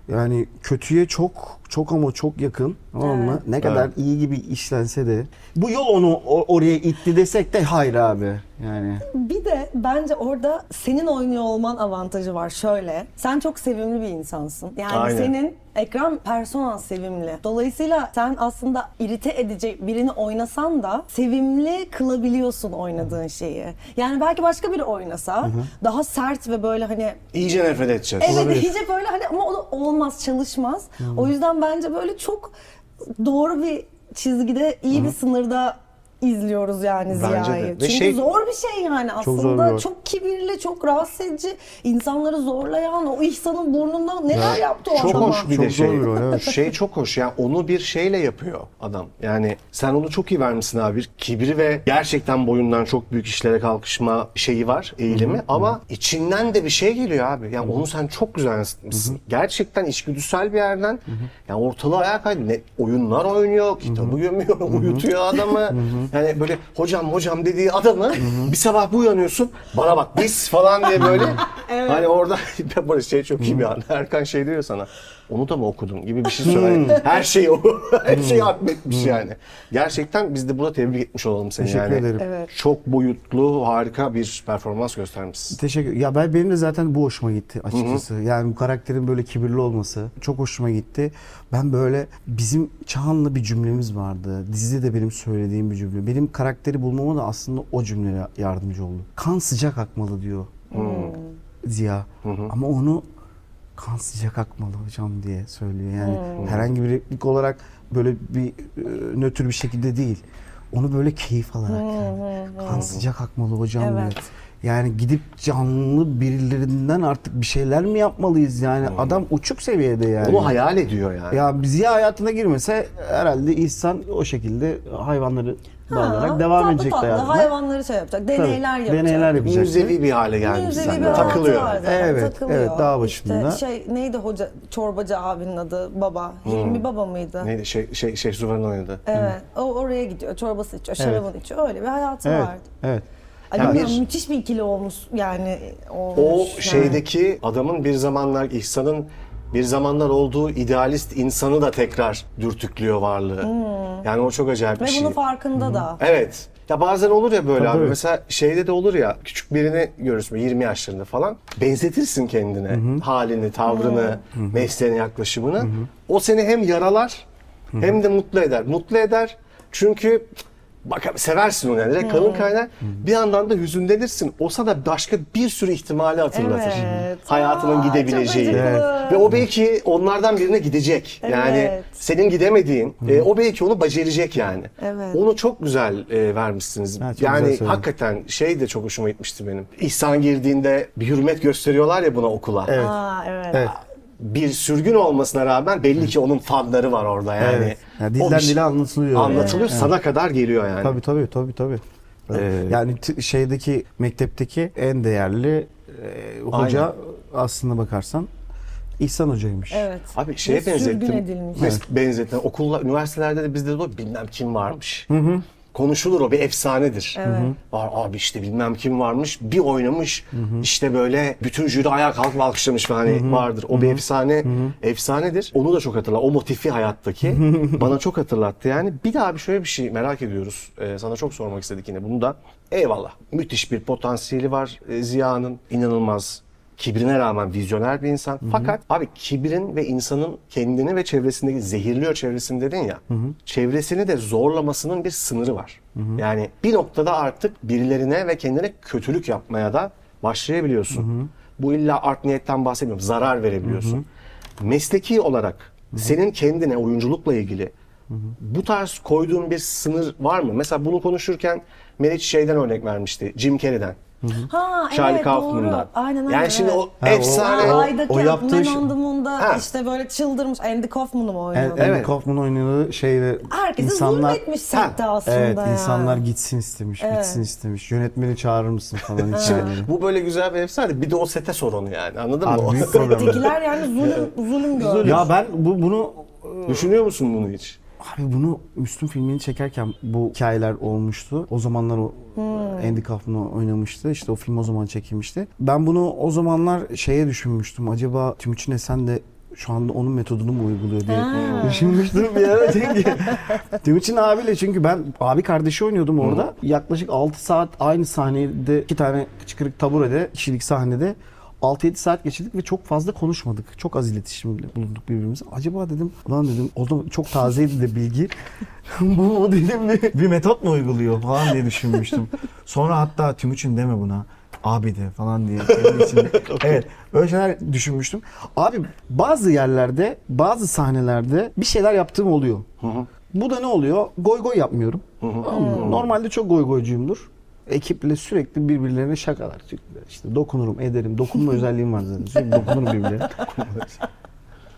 Yani kötüye çok çok ama çok yakın. Tamam mı? Ne kadar iyi gibi işlense de. Bu yol onu o- oraya itti desek de hayır abi. Yani Bir de bence orada senin oynuyor olman avantajı var şöyle. Sen çok sevimli bir insansın. Yani Aynen. senin ekran personan sevimli. Dolayısıyla sen aslında irite edecek birini oynasan da sevimli kılabiliyorsun oynadığın şeyi. Yani belki başka biri oynasa daha sert ve böyle hani İyice nefret edeceğiz. Evet iyice böyle hani ama o da olmaz çalışmaz. O yüzden bence böyle çok doğru bir çizgide iyi bir sınırda izliyoruz yani Bence de. Ziya'yı. Ve Çünkü şey- zor bir şey yani Çok zor bir aslında. rol. Çok, kibirli, çok rahatsız edici, insanları zorlayan, o ihsanın burnundan neler yaptı o Çok adama. hoş bir Çok de zor şey. bir rol, evet. Şey çok hoş ya onu bir şeyle yapıyor adam. Yani sen onu çok iyi vermişsin abi. Bir Kibri ve gerçekten boyundan çok büyük işlere kalkışma şeyi var eğilimi. Ama içinden de bir şey geliyor abi. Yani onu sen çok güzel yansıtmışsın. Gerçekten içgüdüsel bir yerden. Yani ortalığı ayağa kaydı. Ne, oyunlar oynuyor, kitabı gömüyor, uyutuyor adamı. yani böyle hocam hocam dediği adamı bir sabah bir uyanıyorsun. Bana bak biz falan diye böyle Hani orada böyle şey çok iyi bir an. Erkan şey diyor sana. Onu da mı okudun gibi bir şey Hmm. söylüyor. her şeyi o. her şeyi atmetmiş yani. Gerçekten biz de burada tebrik etmiş olalım seni Teşekkür yani. ederim. Evet. Çok boyutlu, harika bir performans göstermişsin. Teşekkür. Ya ben benim de zaten bu hoşuma gitti açıkçası. Yani bu karakterin böyle kibirli olması çok hoşuma gitti. Ben böyle bizim Çağan'la bir cümlemiz vardı. Dizide de benim söylediğim bir cümle. Benim karakteri bulmama da aslında o cümle yardımcı oldu. Kan sıcak akmalı diyor. Ziya. Ama onu kan sıcak akmalı hocam diye söylüyor. Yani Hmm. herhangi bir replik olarak böyle bir e, nötr bir şekilde değil. Onu böyle keyif alarak yani. kan sıcak akmalı hocam Hmm, Evet. diyor. Yani gidip canlı birilerinden artık bir şeyler mi yapmalıyız yani? Adam uçuk seviyede yani. Onu hayal ediyor yani. ya Ziya hayatına girmese herhalde İhsan o şekilde hayvanları Ha, bağlayarak devam tatlı edecek tatlı hayatına. hayvanları şey yapacak, Tabii, deneyler yapacak. Deneyler yapacak. Müzevi bir hale gelmiş. Müzevi bir zaten. hayatı Takılıyor. var zaten, Evet, takılıyor. evet, dağ İşte başında. şey neydi hoca, çorbacı abinin adı baba. Hilmi baba mıydı? Neydi şey şey şey Suvar'ın oynadı. Evet. O oraya gidiyor. Çorbası içiyor, şarabını içiyor. Öyle bir hayatı Evet, vardı. evet. Ay, Yani bilmiyorum, bir- müthiş bir ikili olmuş yani. Olmuş O yani. şeydeki adamın bir zamanlar İhsan'ın bir zamanlar olduğu idealist insanı da tekrar dürtüklüyor varlığı. Yani o çok acayip Hmm. Ve bir şey. bunun farkında da. Evet. Ya bazen olur ya böyle Tabii, abi. evet. Mesela şeyde de olur ya küçük birini görürsün 20 yaşlarında falan. Benzetirsin kendine. Halini, tavrını, mesleğine yaklaşımını. O seni hem yaralar hem de mutlu eder. Mutlu eder çünkü bak seversin onu yani. Direkt kanın kaynar. Bir yandan da hüzünlenirsin. O sana başka bir sürü ihtimali hatırlatır. Evet. Hayatının Aa, gidebileceği. çok acıklı. Ve o belki onlardan birine gidecek. Yani Evet. senin gidemediğin, e, o belki onu becerecek yani. Evet. Onu çok güzel e, vermişsiniz. Ha, çok güzel yani söyledin. hakikaten şey de çok hoşuma gitmişti benim. İhsan girdiğinde bir hürmet gösteriyorlar ya buna okula. Evet. Aa, evet. Evet. Bir sürgün olmasına rağmen belli ki onun fanları var orada yani. Evet. Ya O dilden bir şey- dile anlatılıyor. Anlatılıyor sana kadar geliyor yani. Tabii tabii tabii tabii. Hani Ee, yani t- şeydeki mektepteki en değerli e, hoca Aynen. aslında bakarsan İhsan hocaymış. Evet. Abi şeye Ve Sürgün benzettim. edilmiş. Mes- Benzettim. Okullar, üniversitelerde de bizde de o bilmem kim varmış. Konuşulur o bir efsanedir. Var abi işte bilmem kim varmış bir oynamış işte böyle bütün jüri ayağa kalkıp alkışlamış falan hani vardır. O bir efsane efsanedir. Onu da çok hatırlar. O motifi hayattaki bana çok hatırlattı yani. Bir daha bir şöyle bir şey merak ediyoruz. Ee, sana çok sormak istedik yine bunu da. Eyvallah. Müthiş bir potansiyeli var e, Ziya'nın. inanılmaz kibrine rağmen vizyoner bir insan. Fakat abi kibrin ve insanın kendini ve çevresindeki zehirliyor çevresini dedin ya. Çevresini de zorlamasının bir sınırı var. Yani bir noktada artık birilerine ve kendine kötülük yapmaya da başlayabiliyorsun. Bu illa art niyetten bahsetmiyorum. Zarar verebiliyorsun. Mesleki olarak senin kendine oyunculukla ilgili bu tarz koyduğun bir sınır var mı? Mesela bunu konuşurken Meriç şeyden örnek vermişti. Jim Carrey'den. Ha Charlie evet doğru. Kaufman'dan. Aynen aynen. Yani şimdi evet. o efsane Aa, o- Aydaki o yaptığı Man şey- on the Moon'da Ha. işte böyle çıldırmış Andy Kaufman'ı mı Evet. oynadı? E, Andy Kaufman oynadığı şeyle Herkese insanlar zulmetmiş Ha, sette aslında Evet ya. insanlar gitsin istemiş, gitsin istemiş. Yönetmeni çağırır mısın falan hiç yani. bu böyle güzel bir efsane. Bir de o sete sorunu yani. Anladın Abi mı? O- büyük problem. Settekiler yani zulüm, zulüm görmüş. ya ben bu bunu Düşünüyor musun bunu hiç? abi bunu Müslüm filmini çekerken bu hikayeler olmuştu. O zamanlar o Andy Kaufman oynamıştı. İşte o film o zaman çekilmişti. Ben bunu o zamanlar şeye düşünmüştüm. Acaba Timuçin Esen de şu anda onun metodunu mu uyguluyor diye düşünmüştüm bir ara çünkü Timuçin abiyle çünkü ben abi kardeşi oynuyordum orada. Yaklaşık 6 saat aynı sahnede iki tane çıkırık taburede kişilik sahnede 6-7 saat geçirdik ve çok fazla konuşmadık. Çok az iletişimde bulunduk birbirimize. Acaba dedim, ulan dedim o zaman çok tazeydi de bilgi. bu bu dedim bir, bir metot mu uyguluyor falan diye düşünmüştüm. Sonra hatta Timuçin deme buna. Abi de falan diye. kendi içimde. evet. Öyle şeyler düşünmüştüm. Abi bazı yerlerde, bazı sahnelerde bir şeyler yaptığım oluyor. Bu da ne oluyor? Goy goy yapmıyorum. Anladın mı? Normalde çok goy goycuyumdur. Ekiple sürekli birbirlerine şakalar. İşte dokunurum, ederim. Dokunma özelliğim var zaten. Sürekli dokunurum birbirlerine.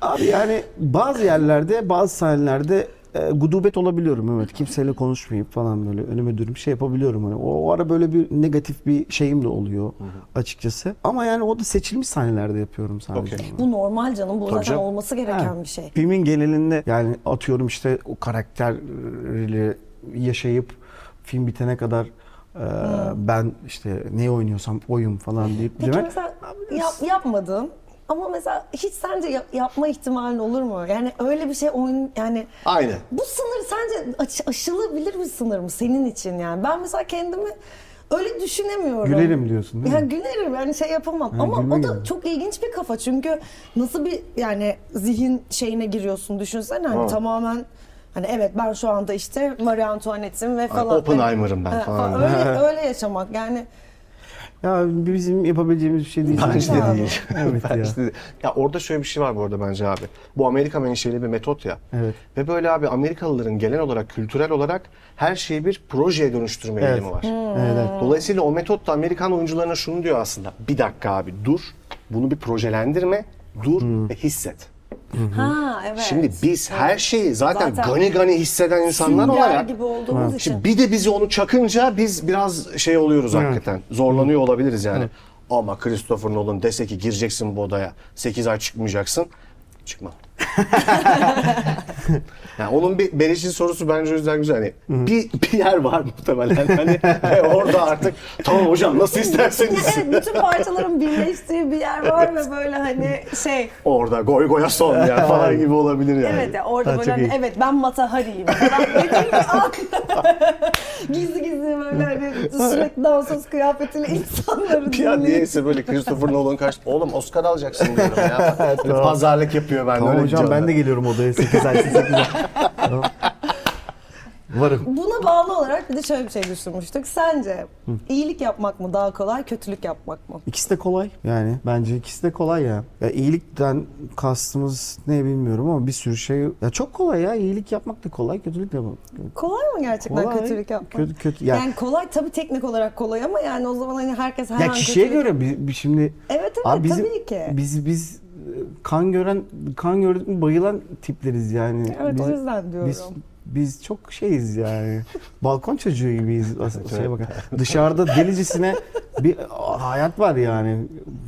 Abi yani bazı yerlerde, bazı sahnelerde e, gudubet olabiliyorum evet. Kimseyle konuşmayıp falan böyle önüme dönüp şey yapabiliyorum. Hani o, o ara böyle bir negatif bir şeyim de oluyor açıkçası. Ama yani o da seçilmiş sahnelerde yapıyorum sadece. Okey. Bu normal canım. Bu zaten canım. olması gereken Ha. bir şey. Filmin genelinde yani atıyorum işte o karakterleri yaşayıp film bitene kadar e, ben işte ne oynuyorsam oyum falan deyip Hmm. Peki demek. mesela yap, yapmadın ama mesela hiç sence yap- yapma ihtimalin olur mu? Yani öyle bir şey oyun yani Aynen. bu sınır sence aş- aşılabilir bir sınır mı senin için yani? Ben mesela kendimi öyle düşünemiyorum. Gülerim diyorsun değil ya mi? gülerim yani şey yapamam Ha, ama gülme o da geliyor. çok ilginç bir kafa çünkü nasıl bir yani zihin şeyine giriyorsun düşünsene hani tamamen hani evet ben şu anda işte Marie Antoinette'im ve falan. Oppenheimer'ım ben Ha, falan. Öyle, öyle yaşamak yani Ya bizim yapabileceğimiz bir şey değil. Bence Yani. de değil. Evet ya. Bence de değil. Ya orada şöyle bir şey var bu arada bence abi. Bu Amerika menşeli bir metot ya. Evet. Ve böyle abi Amerikalıların genel olarak kültürel olarak her şeyi bir projeye dönüştürme Evet. eğilimi var. Dolayısıyla o metot da Amerikan oyuncularına şunu diyor aslında. Bir dakika abi dur. Bunu bir projelendirme. Dur Hmm. ve hisset. ha evet. Şimdi biz her şeyi zaten, Zaten gani gani hisseden insanlar sünger olarak gibi olduğumuz Şimdi için. bir de bizi onu çakınca biz biraz şey oluyoruz hakikaten. Zorlanıyor olabiliriz yani. Ama Christopher Nolan dese ki gireceksin bu odaya 8 ay çıkmayacaksın. Çıkma. yani onun bir Beriş'in sorusu bence o yüzden güzel. Hani bir, bir yer var muhtemelen. Hani ve orada artık tamam hocam nasıl Ya isterseniz. evet bütün parçaların birleştiği bir yer var ve böyle hani şey orada goy goya son ya falan gibi olabilir yani. evet ya orada Ha, böyle çok hani, iyi. evet ben Matahari'yim falan dediğim bir an. gizli gizli böyle hani sürekli dansöz kıyafetiyle insanları Bir an dinleyip niyeyse böyle Christopher Nolan karşı oğlum Oscar alacaksın diyorum ya. Böyle Pazarlık yapıyor ben Tamam öyle hocam canlı. ben de geliyorum odaya 8 ay 8 ay. Tamam. Varım. Buna bağlı olarak bir de şöyle bir şey düşünmüştük. Sence iyilik yapmak mı daha kolay, kötülük yapmak mı? İkisi de kolay yani. Bence ikisi de kolay ya. ya iyilikten kastımız ne bilmiyorum ama bir sürü şey. Ya çok kolay ya. İyilik yapmak da kolay, kötülük de yapmak. Kolay mı gerçekten Kolay. kötülük yapmak? Kötü- kötü- yani, yani- kolay tabii teknik olarak kolay ama yani o zaman hani herkes her Ya an kişiye kötülük- göre bir, bir şimdi Evet, evet, Abi bizim- tabii ki. Biz biz e, kan gören kan gördük mü bayılan tipleriz yani. Evet, o Biz- yüzden diyorum. Biz Biz çok şeyiz yani. Balkon çocuğu gibiyiz. as- şeye bakın. Dışarıda delicesine bir hayat var yani.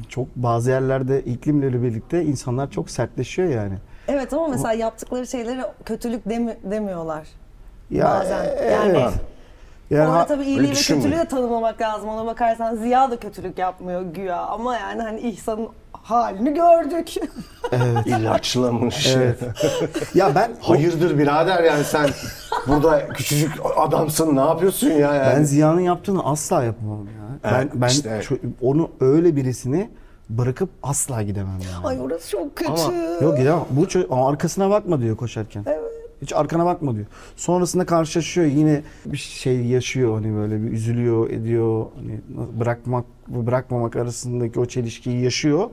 Çok bazı yerlerde iklimleri birlikte insanlar çok sertleşiyor yani. Evet ama mesela yaptıkları şeylere kötülük demi- demiyorlar. Ya, e, Bazen. Yani- Ee, evet. Yani Ona ha- tabii iyiliği öyle ve düşünmeyin. kötülüğü de tanımlamak lazım. Ona bakarsan Ziya da kötülük yapmıyor güya ama yani hani İhsan'ın halini gördük. İlaçlamış. Evet. ya ben Hayırdır birader yani sen burada küçücük adamsın ne yapıyorsun ya yani? Ben Ziya'nın yaptığını asla yapamam ya. Evet, ben ben işte evet. ço- onu öyle birisini bırakıp asla gidemem yani. Ay orası çok kötü. Ama yok gidemem. Bu ço- ama arkasına bakma diyor koşarken. Hiç arkana bakma diyor. Sonrasında karşılaşıyor yine bir şey yaşıyor hani böyle bir üzülüyor ediyor hani bırakmak ve bırakmamak arasındaki o çelişkiyi yaşıyor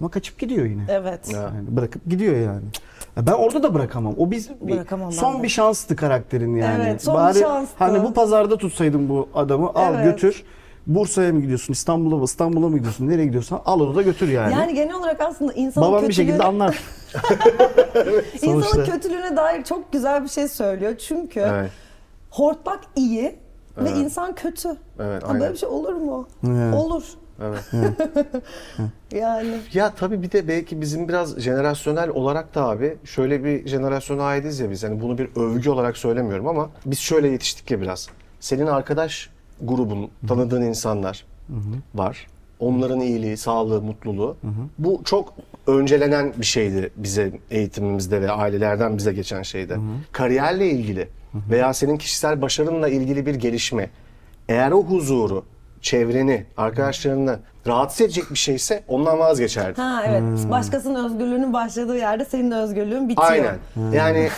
ama kaçıp gidiyor yine. Evet. Yani bırakıp gidiyor yani. Ya Ben orada da bırakamam. O biz bir- Bırakamam ben son de. bir şanstı karakterin yani. Evet, son bir şanstı. Hani bu pazarda tutsaydın bu adamı al Evet. götür. Bursa'ya mı gidiyorsun? İstanbul'a mı? İstanbul'a mı gidiyorsun? Nereye gidiyorsan al onu da götür yani. Yani genel olarak aslında insanın Babam bir kötülüğü- şekilde anlar. insanın sonuçta. kötülüğüne dair çok güzel bir şey söylüyor. Çünkü Evet. hortlak iyi ve insan kötü. Evet, Ha, aynen. Böyle bir şey olur mu? Evet. Olur. Evet. yani. Ya tabii bir de belki bizim biraz jenerasyonel olarak da abi şöyle bir jenerasyona aitiz ya biz. Yani bunu bir övgü olarak söylemiyorum ama biz şöyle yetiştik ya biraz. Senin arkadaş grubun, tanıdığın insanlar var. Onların iyiliği, sağlığı, mutluluğu. Bu çok öncelenen bir şeydi bize eğitimimizde ve ailelerden bize geçen şeyde. Kariyerle ilgili veya senin kişisel başarınla ilgili bir gelişme. Eğer o huzuru, çevreni, arkadaşlarını rahatsız edecek bir şeyse ondan vazgeçerdin. Ha evet. Hmm. Başkasının özgürlüğünün başladığı yerde senin de özgürlüğün bitiyor. Aynen. Yani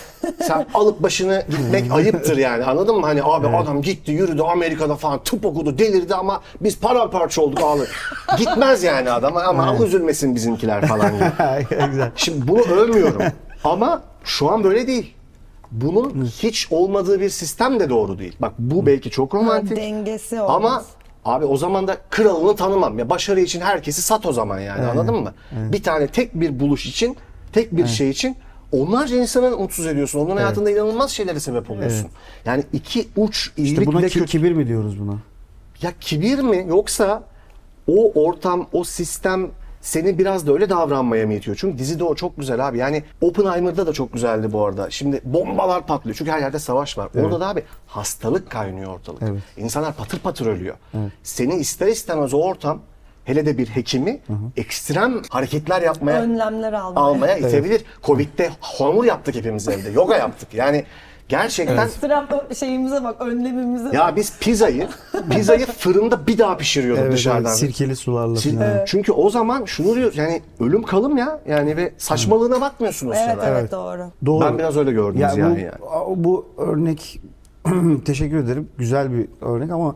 sen alıp başını gitmek ayıptır yani anladın mı? Hani abi adam gitti yürüdü Amerika'da falan tıp okudu delirdi ama biz paramparça olduk abi. Gitmez yani adam ama üzülmesin bizimkiler falan gibi. Güzel. Şimdi bunu övmüyorum ama şu an böyle değil. Bunun hiç olmadığı bir sistem de doğru değil. Bak bu belki çok romantik. Dengesi olmaz. Ama abi o zaman da kralını tanımam. Ya başarı için herkesi sat o zaman yani anladın mı? Bir tane tek bir buluş için, tek bir şey için onlarca insanı mutsuz ediyorsun. Onların hayatında inanılmaz şeylere sebep oluyorsun. Yani iki uç iyilik İşte buna ve ki- kötü. kibir mi diyoruz buna? Ya kibir mi yoksa o ortam, o sistem seni biraz da öyle davranmaya mı itiyor? Çünkü dizide o çok güzel abi. Yani Oppenheimer'da da çok güzeldi bu arada. Şimdi bombalar patlıyor. Çünkü her yerde savaş var. Orada da abi hastalık kaynıyor ortalık. Evet. İnsanlar patır patır ölüyor. Seni ister istemez o ortam hele de bir hekimi ekstrem hareketler yapmaya Önlemler almaya. almaya itebilir. Covid'de hamur yaptık hepimiz evde. Yoga yaptık. Yani gerçekten Trump şeyimize bak, önlemimize bak. ya biz pizzayı pizzayı fırında bir daha pişiriyorduk Evet, dışarıdan. evet, sirkeli sularla Sil- falan. Çünkü o zaman şunu diyor yani ölüm kalım ya yani ve saçmalığına bakmıyorsun o Evet, sırada. evet doğru. Doğru. Ben biraz öyle gördüm Ya Ziya'yı bu, yani. a- Bu örnek teşekkür ederim. Güzel bir örnek ama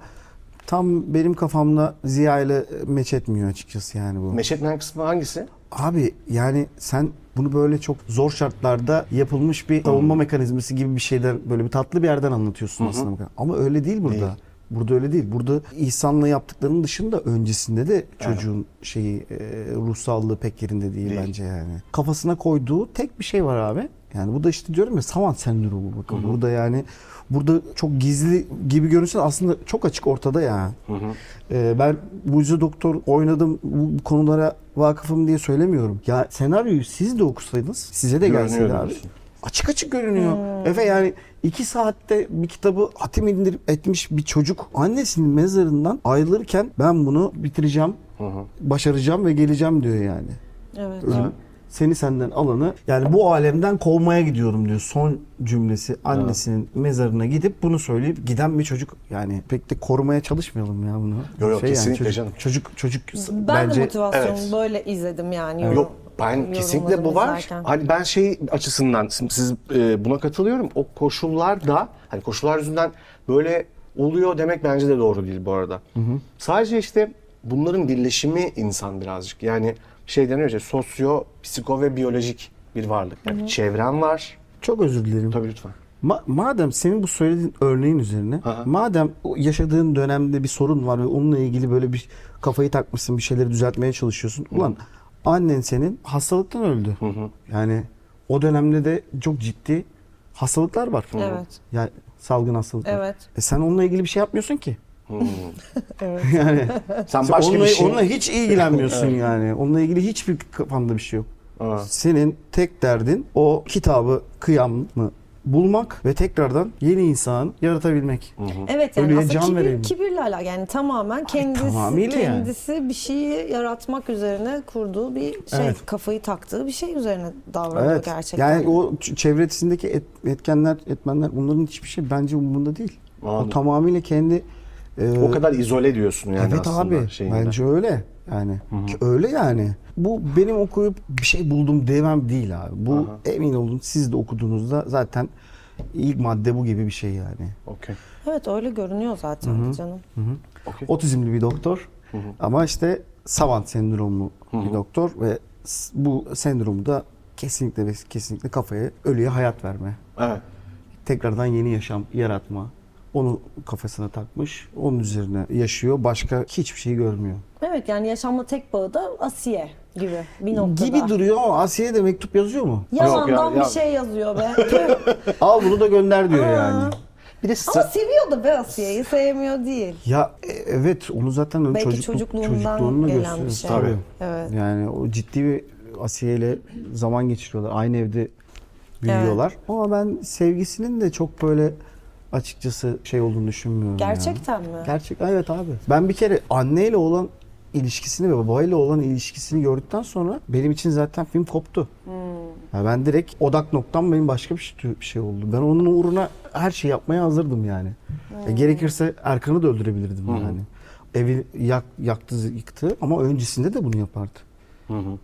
tam benim kafamda Ziya ile meç etmiyor açıkçası yani bu. Meşet Men kısmı hangisi? Abi yani sen bunu böyle çok zor şartlarda yapılmış bir savunma mekanizması gibi bir şeyden böyle bir tatlı bir yerden anlatıyorsun aslında. Ama öyle değil burada. Burada öyle değil. Burada İhsan'la yaptıklarının dışında öncesinde de çocuğun şeyi e, ruhsallığı pek yerinde değil, bence yani. Kafasına koyduğu tek bir şey var abi. Yani bu da işte diyorum ya savan sendromu bakın. Burada yani burada çok gizli gibi görünse de aslında çok açık ortada ya. Ee, ben mucize doktor oynadım bu bu konulara vakıfım diye söylemiyorum. Ya senaryoyu siz de okusaydınız size de gelseydi Görünüyor abi. diyorsun. Açık açık görünüyor. Efe yani iki saatte bir kitabı hatim indirip etmiş bir çocuk annesinin mezarından ayrılırken ben bunu bitireceğim, başaracağım ve geleceğim diyor yani. Evet. Ölüm seni senden alanı yani bu alemden kovmaya gidiyorum diyor. Son cümlesi annesinin mezarına gidip bunu söyleyip giden bir çocuk. Yani pek de korumaya çalışmayalım ya bunu. Şey Yo, yo, kesinlikle çocuk, canım. Çocuk çocuk Ben bence de motivasyonumu evet. böyle izledim yani. yorum- Yok ben kesinlikle bu yorumlarını var. izlerken. Hani ben şey açısından siz siz, e, buna katılıyorum. O koşullar da hani koşullar yüzünden böyle oluyor demek bence de doğru değil bu arada. Sadece işte bunların birleşimi insan birazcık. Yani şey deniyor ya sosyo, psiko ve biyolojik bir varlık. Yani çevren var. çok özür dilerim. Tabii lütfen. Ma- madem senin bu söylediğin örneğin üzerine Aha. madem o yaşadığın dönemde bir sorun var ve onunla ilgili böyle bir kafayı takmışsın bir şeyleri düzeltmeye çalışıyorsun. Ulan annen senin hastalıktan öldü. Yani o dönemde de çok ciddi hastalıklar var. Evet. Yani salgın hastalıklar. Evet. E sen onunla ilgili bir şey yapmıyorsun ki. Sen Sen Hmm. başka onunla, bir şey... onunla hiç ilgilenmiyorsun yani. Onunla ilgili hiçbir kafanda bir şey yok. Ha. Senin tek derdin o kitabı, kıyamını bulmak ve tekrardan yeni insan yaratabilmek. Evet yani Ölüye aslında can verelim. kibir, kibirle alakalı yani tamamen kendisi tamamıyla yani. kendisi bir şeyi yaratmak üzerine kurduğu bir şey Evet. kafayı taktığı bir şey üzerine davranıyor Evet. gerçekten. Yani o ç- çevresindeki et- etkenler, etmenler bunların hiçbir şey bence umurunda değil. O Anladım. tamamıyla kendi e, O kadar izole diyorsun yani Evet aslında. abi şeyinde. bence öyle yani Ki öyle yani bu benim okuyup bir şey buldum demem değil abi bu emin olun siz de okuduğunuzda zaten ilk madde bu gibi bir şey yani Okey. Evet öyle görünüyor zaten canım. otizmli bir doktor ama işte savant sendromlu bir doktor ve s- bu sendromda kesinlikle ve kesinlikle kafaya ölüye hayat verme Evet. tekrardan yeni yaşam yaratma onu kafasına takmış onun üzerine yaşıyor başka hiçbir şey görmüyor Evet yani yaşamla tek bağı da Asiye gibi bir noktada. gibi duruyor ama Asiye'ye de mektup yazıyor mu? Yalandan Yok ya, ya- bir şey yazıyor be. Al bunu da gönder diyor yani. Bir de Ama sa- seviyor da be Asiye'yi sevmiyor değil. Ya e- evet onu zaten onun Belki çocukluk- çocukluğundan çocukluğunu gelen bir gösteriyor. şey. Tabii. Evet. Yani o ciddi bir Asiye ile zaman geçiriyorlar. Aynı evde büyüyorlar. Ama ben sevgisinin de çok böyle açıkçası şey olduğunu düşünmüyorum ya. Gerçekten mi? Gerçek evet abi. Ben bir kere anneyle olan ilişkisini ve babayla olan ilişkisini gördükten sonra benim için zaten film koptu. Ya ben direkt odak noktam benim başka bir şey, bir şey oldu. Ben onun uğruna her şeyi yapmaya hazırdım yani. E, gerekirse Erkan'ı da öldürebilirdim yani. Evi yak, yaktı, yıktı ama öncesinde de bunu yapardı.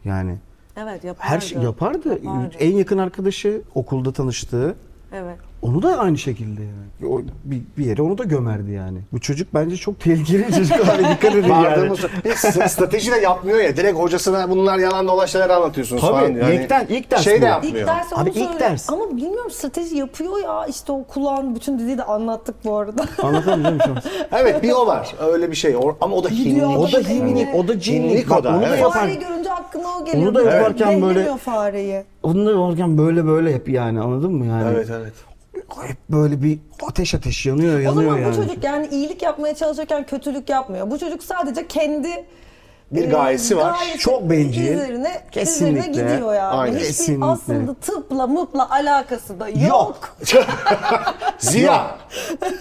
Yani Evet yapardı. her şey yapardı. Yapardı. En yakın arkadaşı okulda tanıştığı Evet. onu da aynı şekilde yani. O, bir, bir yere onu da gömerdi yani. Bu çocuk bence çok tehlikeli bir çocuk. Hani dikkat edin yani. Bağırdığımız Hiç strateji de yapmıyor ya. Direkt hocasına bunlar yalan dolaş şeyler anlatıyorsunuz Tabii, falan. diyor. Hani ilkten- ilk ders Şey bu. de İlk yapmıyor. ders onu Abi ilk söyle- ders. Ama bilmiyorum strateji yapıyor ya işte o kulağın bütün dediği de anlattık bu arada. Anlatamıyor musun? Evet bir o var. Öyle bir şey. O- Ama o da hinlik. Gidiyor O da Evet. himlik, o da cinlik. Hinlik Bak, o da, onu da evet. yapar. Fareyi görünce aklına o geliyor. Onu da Böyle yaparken dengelemiyor böyle- fareyi. Onu da yaparken böyle böyle hep yani anladın mı yani? Evet evet. Hep böyle bir ateş ateş yanıyor yanıyor o zaman yani. bu çocuk yani iyilik yapmaya çalışırken kötülük yapmıyor. Bu çocuk sadece kendi Bir gayesi var. gayesi Çok bencil. Üzerine, Kesinlikle. üzerine gidiyor yani. Aynen. Hiçbir Kesinlikle. aslında tıpla mıpla alakası da yok. Yok. Ziya.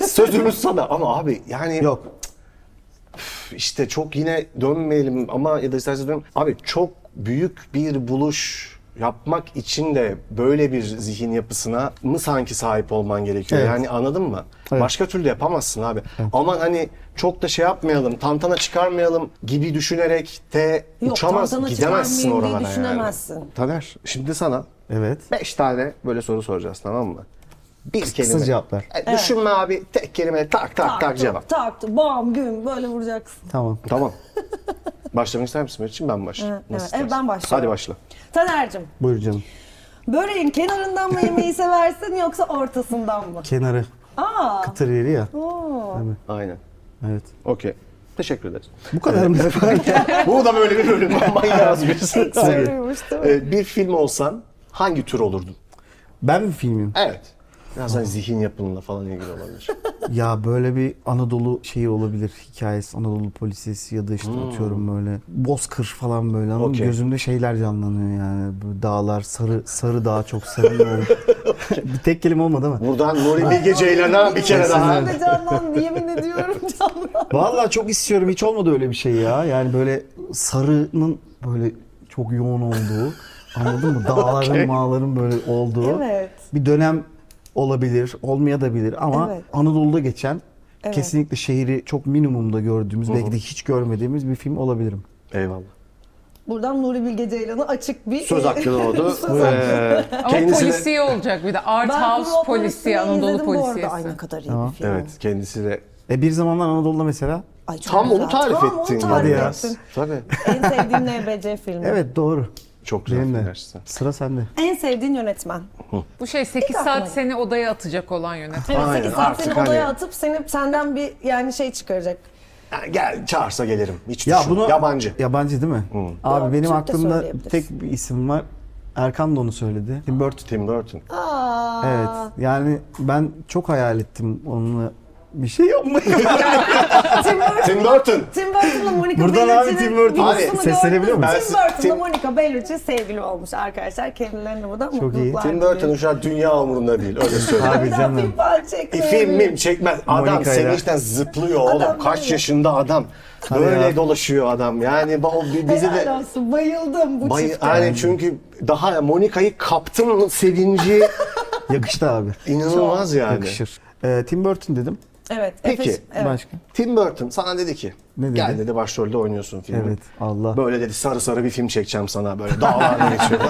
Sözümüz sana. Ama abi yani Yok. işte çok yine dönmeyelim ama ya da istersen dön. Abi çok büyük bir buluş yapmak için de böyle bir zihin yapısına mı sanki sahip olman gerekiyor? Evet. Yani anladın mı? Evet. Başka türlü yapamazsın abi. Aman hani çok da şey yapmayalım, tantana çıkarmayalım gibi düşünerek de Yok, uçamaz, tantana gidemezsin çıkarmayayım diye oralara yani. düşünemezsin. Taner, şimdi sana Evet. 5 tane böyle soru soracağız tamam mı? Bir kelime. cevaplar. E, düşünme abi tek kelime tak tak tak, cevap. Taktı, bam, güm böyle vuracaksın. Tamam. Tamam. Başlamak ister misin Meriç'im? Ben mi başlayayım. Evet, evet. istersin? Evet, ben başlıyorum. Hadi başla. Taner'cim, Buyur canım. böreğin kenarından mı yemeyi seversin yoksa ortasından mı? Kenarı. Aa, Tır yeri ya. oo. Aynen. Evet. Okey. Teşekkür ederiz. Bu kadar mı? Bu da böyle bir bölüm. Manyağız birisi. soruymuş, değil mi? şey. Ee, bir film olsan hangi tür olurdun? ben mi filmim? Evet. Biraz hani zihin yapınla falan ilgili olabilir. Ya böyle bir Anadolu şeyi olabilir hikayesi, Anadolu polisiyesi ya da işte atıyorum böyle Bozkır falan böyle ama Okey. gözümde şeyler canlanıyor yani bu dağlar sarı sarı dağ çok sarı bir tek kelime olmadı ama. Buradan Nuri Bilge Ceylan'a bir kere daha. Sen de canlandı yemin ediyorum canlandı. Vallahi çok istiyorum hiç olmadı öyle bir şey ya yani böyle sarının böyle çok yoğun olduğu anladın mı dağların mağların böyle olduğu Evet. bir dönem olabilir olmayabilir ama Evet. Anadolu'da geçen Evet. Kesinlikle şehri çok minimumda gördüğümüz, belki de hiç görmediğimiz bir film olabilirim. Eyvallah. Buradan Nuri Bilge Ceylan'a açık bir... Söz hakkı doğdu. Söz hakkı. Ee, Ama kendisi de, polisiye olacak bir de. Art Ben House Kuzey polisiye, Polisi'ni Anadolu izledim bu arada. polisiyesi. Ay ne kadar iyi bir film. Evet kendisi de. E bir zamanlar Anadolu'da mesela. Ay, çok Tam onu güzel. tarif Tam onu ettin. tarif Hadi ya. ettin. Tabii. En sevdiğim NBC filmi. Evet doğru. Çok güzel Benim de. filmler size. Sıra sende. En sevdiğin yönetmen. Bu şey 8 saat seni odaya atacak olan yönetmen. Evet, Aynen, 8 saat seni artık hani- odaya atıp seni senden bir yani şey çıkaracak. Ya Gel çağırsa gelirim. Hiç Ya düşün. bunu Yabancı. Yabancı değil mi? Abi Doğru, benim Türk de aklımda söyleyebilirsin. tek bir isim var. Erkan da onu söyledi. Tim Burton. Tim Burton. Aa, Evet. Yani ben çok hayal ettim onunla bir şey yapmayı. Tim Burton. Tim Burton. Tim Burton'la Monica Buradan abi Bellucci'nin Tim Burton. videosunu Abi, gördün seslenebiliyor mü? muyum? Ben- Tim Burton'la Tim- Monica Bellucci sevgili olmuş arkadaşlar. Kendilerine buradan Çok iyi. mutluluklar Tim diliyorum. Burton'ın şu an dünya umurunda değil. Öyle söyleyeyim. Abi canım. İfim mim çekmez. Adam Monika'yla. sevinçten zıplıyor oğlum. Adam Kaç böyle. yaşında adam. Tabii Böyle ya. dolaşıyor adam. Yani ba- o bi- bizi de... Helal olsun. Bayıldım bu Bay- çifte. yani çünkü daha Monika'yı kaptım sevinci Yakıştı abi. inanılmaz yani. Yakışır. Ee, Tim Burton dedim. Evet. Peki. Efes- evet. Başka? Tim Burton sana dedi ki Ne dedi? gel dedi başrolde oynuyorsun filmi. Evet. Allah. Böyle dedi sarı sarı bir film çekeceğim sana böyle dağlar geçiyor.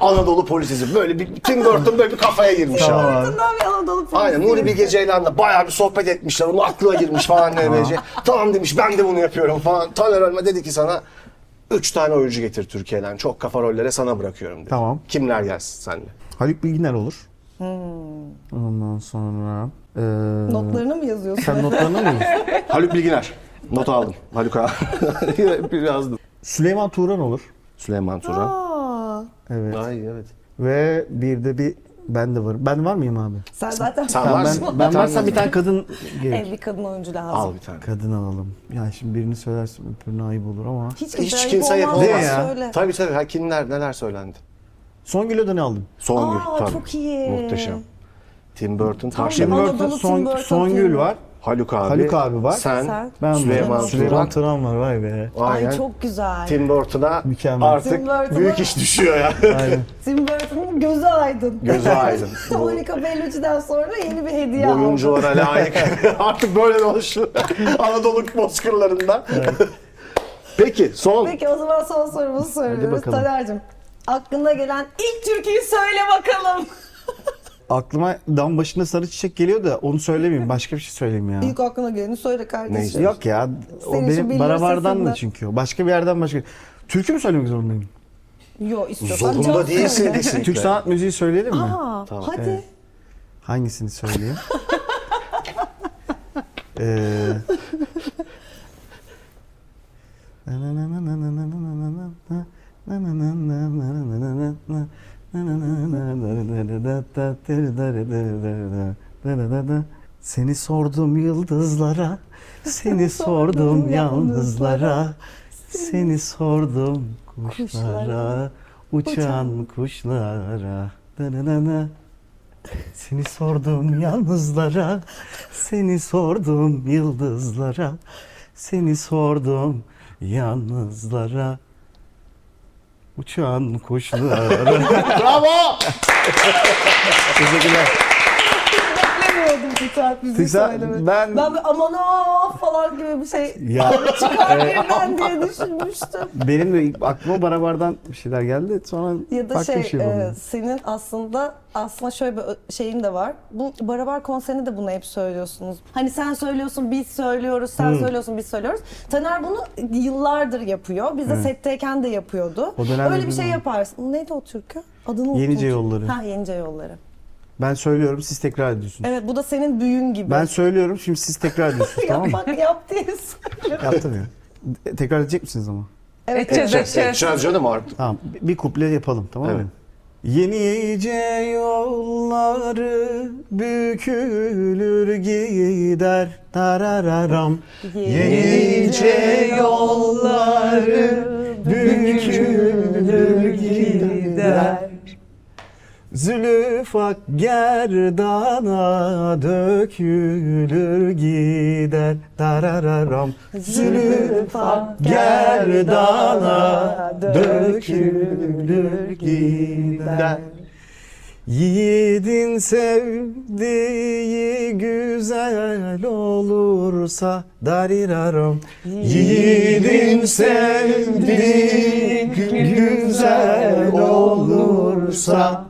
Anadolu polisizm böyle bir Tim Burton böyle bir kafaya girmiş Tamam abi. abi. Bundan bir Anadolu polisi. Aynen Nuri Bilge Ceylan'la bayağı bir sohbet etmişler. Onun aklına girmiş falan böylece. tamam demiş ben de bunu yapıyorum falan. Taner Ölme dedi ki sana üç tane oyuncu getir Türkiye'den. Çok kafa rollere sana bırakıyorum dedi. Tamam. Kimler gelsin seninle? Haluk Bilginer olur. Hmm. Ondan sonra... ee, Notlarını mı yazıyorsun? Sen notlarını mı yazıyorsun? Haluk Bilginer. Not aldım. Haluk abi. Yazdım. Süleyman Turan olur. Süleyman Turan. Aa, Evet. Ay evet. Ve bir de bir ben de var. Ben var mıyım abi? sen zaten Sen Tamam, varsın. ben, ben varsam bir tane kadın gerek. Ee, bir kadın oyuncu lazım. Al bir tane. Kadın alalım. Ya şimdi birini söylersem öpürüne ayıp olur ama. Hiç kimse, Hiç kimse yapamaz. yapamaz. Ne ya? Söyle. Tabii tabii. Ha, kimler neler söylendi. Songül Öden'i aldım. Songül. Aa, tabii. çok iyi. Muhteşem. Tim Burton. Tam Taşlı. bir- Anadolu Burton, Tim Son- Burton Songül filmi. var. Haluk abi. Haluk abi var. Sen. Sen. Ben Süleyman Süleyman, Turan. Süleyman Turan var vay be. Aynen. Ay çok güzel. Tim, Tim Burton'a Mükemmel. artık Tim Burton'a- büyük iş düşüyor ya. Aynen. Burton'un gözü aydın. Gözü aydın. Bu- Monica Bellucci'den sonra yeni bir hediye aldı. Oyunculara layık. artık böyle oluştu. Anadolu bozkırlarında. Peki son. Peki o zaman son sorumuzu soruyoruz. bakalım. Taner'cim aklına gelen ilk türküyü söyle bakalım. Aklıma dam başında sarı çiçek geliyor da onu söylemeyeyim. Başka bir şey söyleyeyim ya. İlk aklına geleni söyle Ne kardeşim. işte? Yok ya. O Senin şu benim bilmem barabardan sesinden. da çünkü. o. Başka bir yerden başka. Türkü mü söylemek zorundayım? Yok istiyorsan Zorunda cevap değilsin söyle. kesinlikle. Türk sanat müziği söyleyelim mi? Aa, hadi. Evet. Hangisini söyleyeyim? ee... Seni sordum yıldızlara, seni sordum yalnızlara, seni sordum kuşlara, uçan kuşlara. Seni sordum yalnızlara, seni sordum yıldızlara, seni sordum yalnızlara, uçan kuşlara. Bravo. Teşekkürler. Beklemiyordum bu tarz müziği Sen- söylemeyi. ben- Ben... bir aman o falan gibi bir şey Ya çıkar birinden diye düşünmüştüm. benim de ilk aklıma barabardan bir şeyler geldi. Sonra Ya da farklı şey, bir şey e, oldu. senin aslında aslında şöyle bir ö- şeyin de var. Bu Barabar konserinde de bunu hep söylüyorsunuz. Hani sen söylüyorsun biz söylüyoruz, sen Hmm. söylüyorsun biz söylüyoruz. Taner bunu yıllardır yapıyor. Biz de setteyken de yapıyordu. Hmm. O dönemde Öyle bir şey bilmiyorum. yaparsın. Neydi o türkü? Adını unuttum. Yenice Yolları. Ha Yenice Yolları. Ben söylüyorum, siz tekrar ediyorsunuz. Evet bu da senin büyün gibi. Ben söylüyorum, şimdi siz tekrar ediyorsunuz tamam yap mı? bak yap diye söylüyorum. Yaptım ya. E, Tekrar edecek misiniz ama? Edeceğiz, edeceğiz. Edeceğiz canım artık. Tamam bi- bir kuple yapalım tamam Evet. mı? Yenice yolları bükülür gider tarararam. Yenice yolları bükülür gider. Zülüfak gerdana dökülür gider tarararam. Zülüfak gerdana dökülür gider. Yiğidin sevdiği güzel olursa dariraram. Yiğidin sevdiği güzel olursa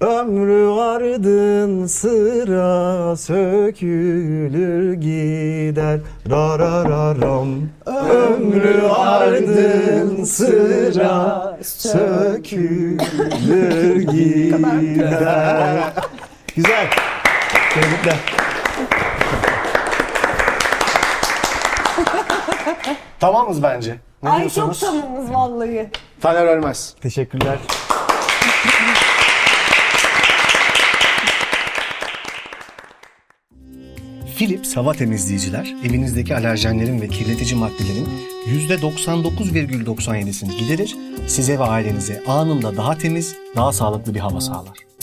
Ömrü ardın sıra sökülür gider ra ra ra ram. Ömrü ardın sıra sökülür gider. Güzel. Tebrikler. Tamamız bence. Ne Ay çok diyorsunuz? tamamız vallahi. Taner Ölmez. Teşekkürler. Philips hava temizleyiciler evinizdeki alerjenlerin ve kirletici maddelerin %99,97'sini giderir, size ve ailenize anında daha temiz, daha sağlıklı bir hava sağlar.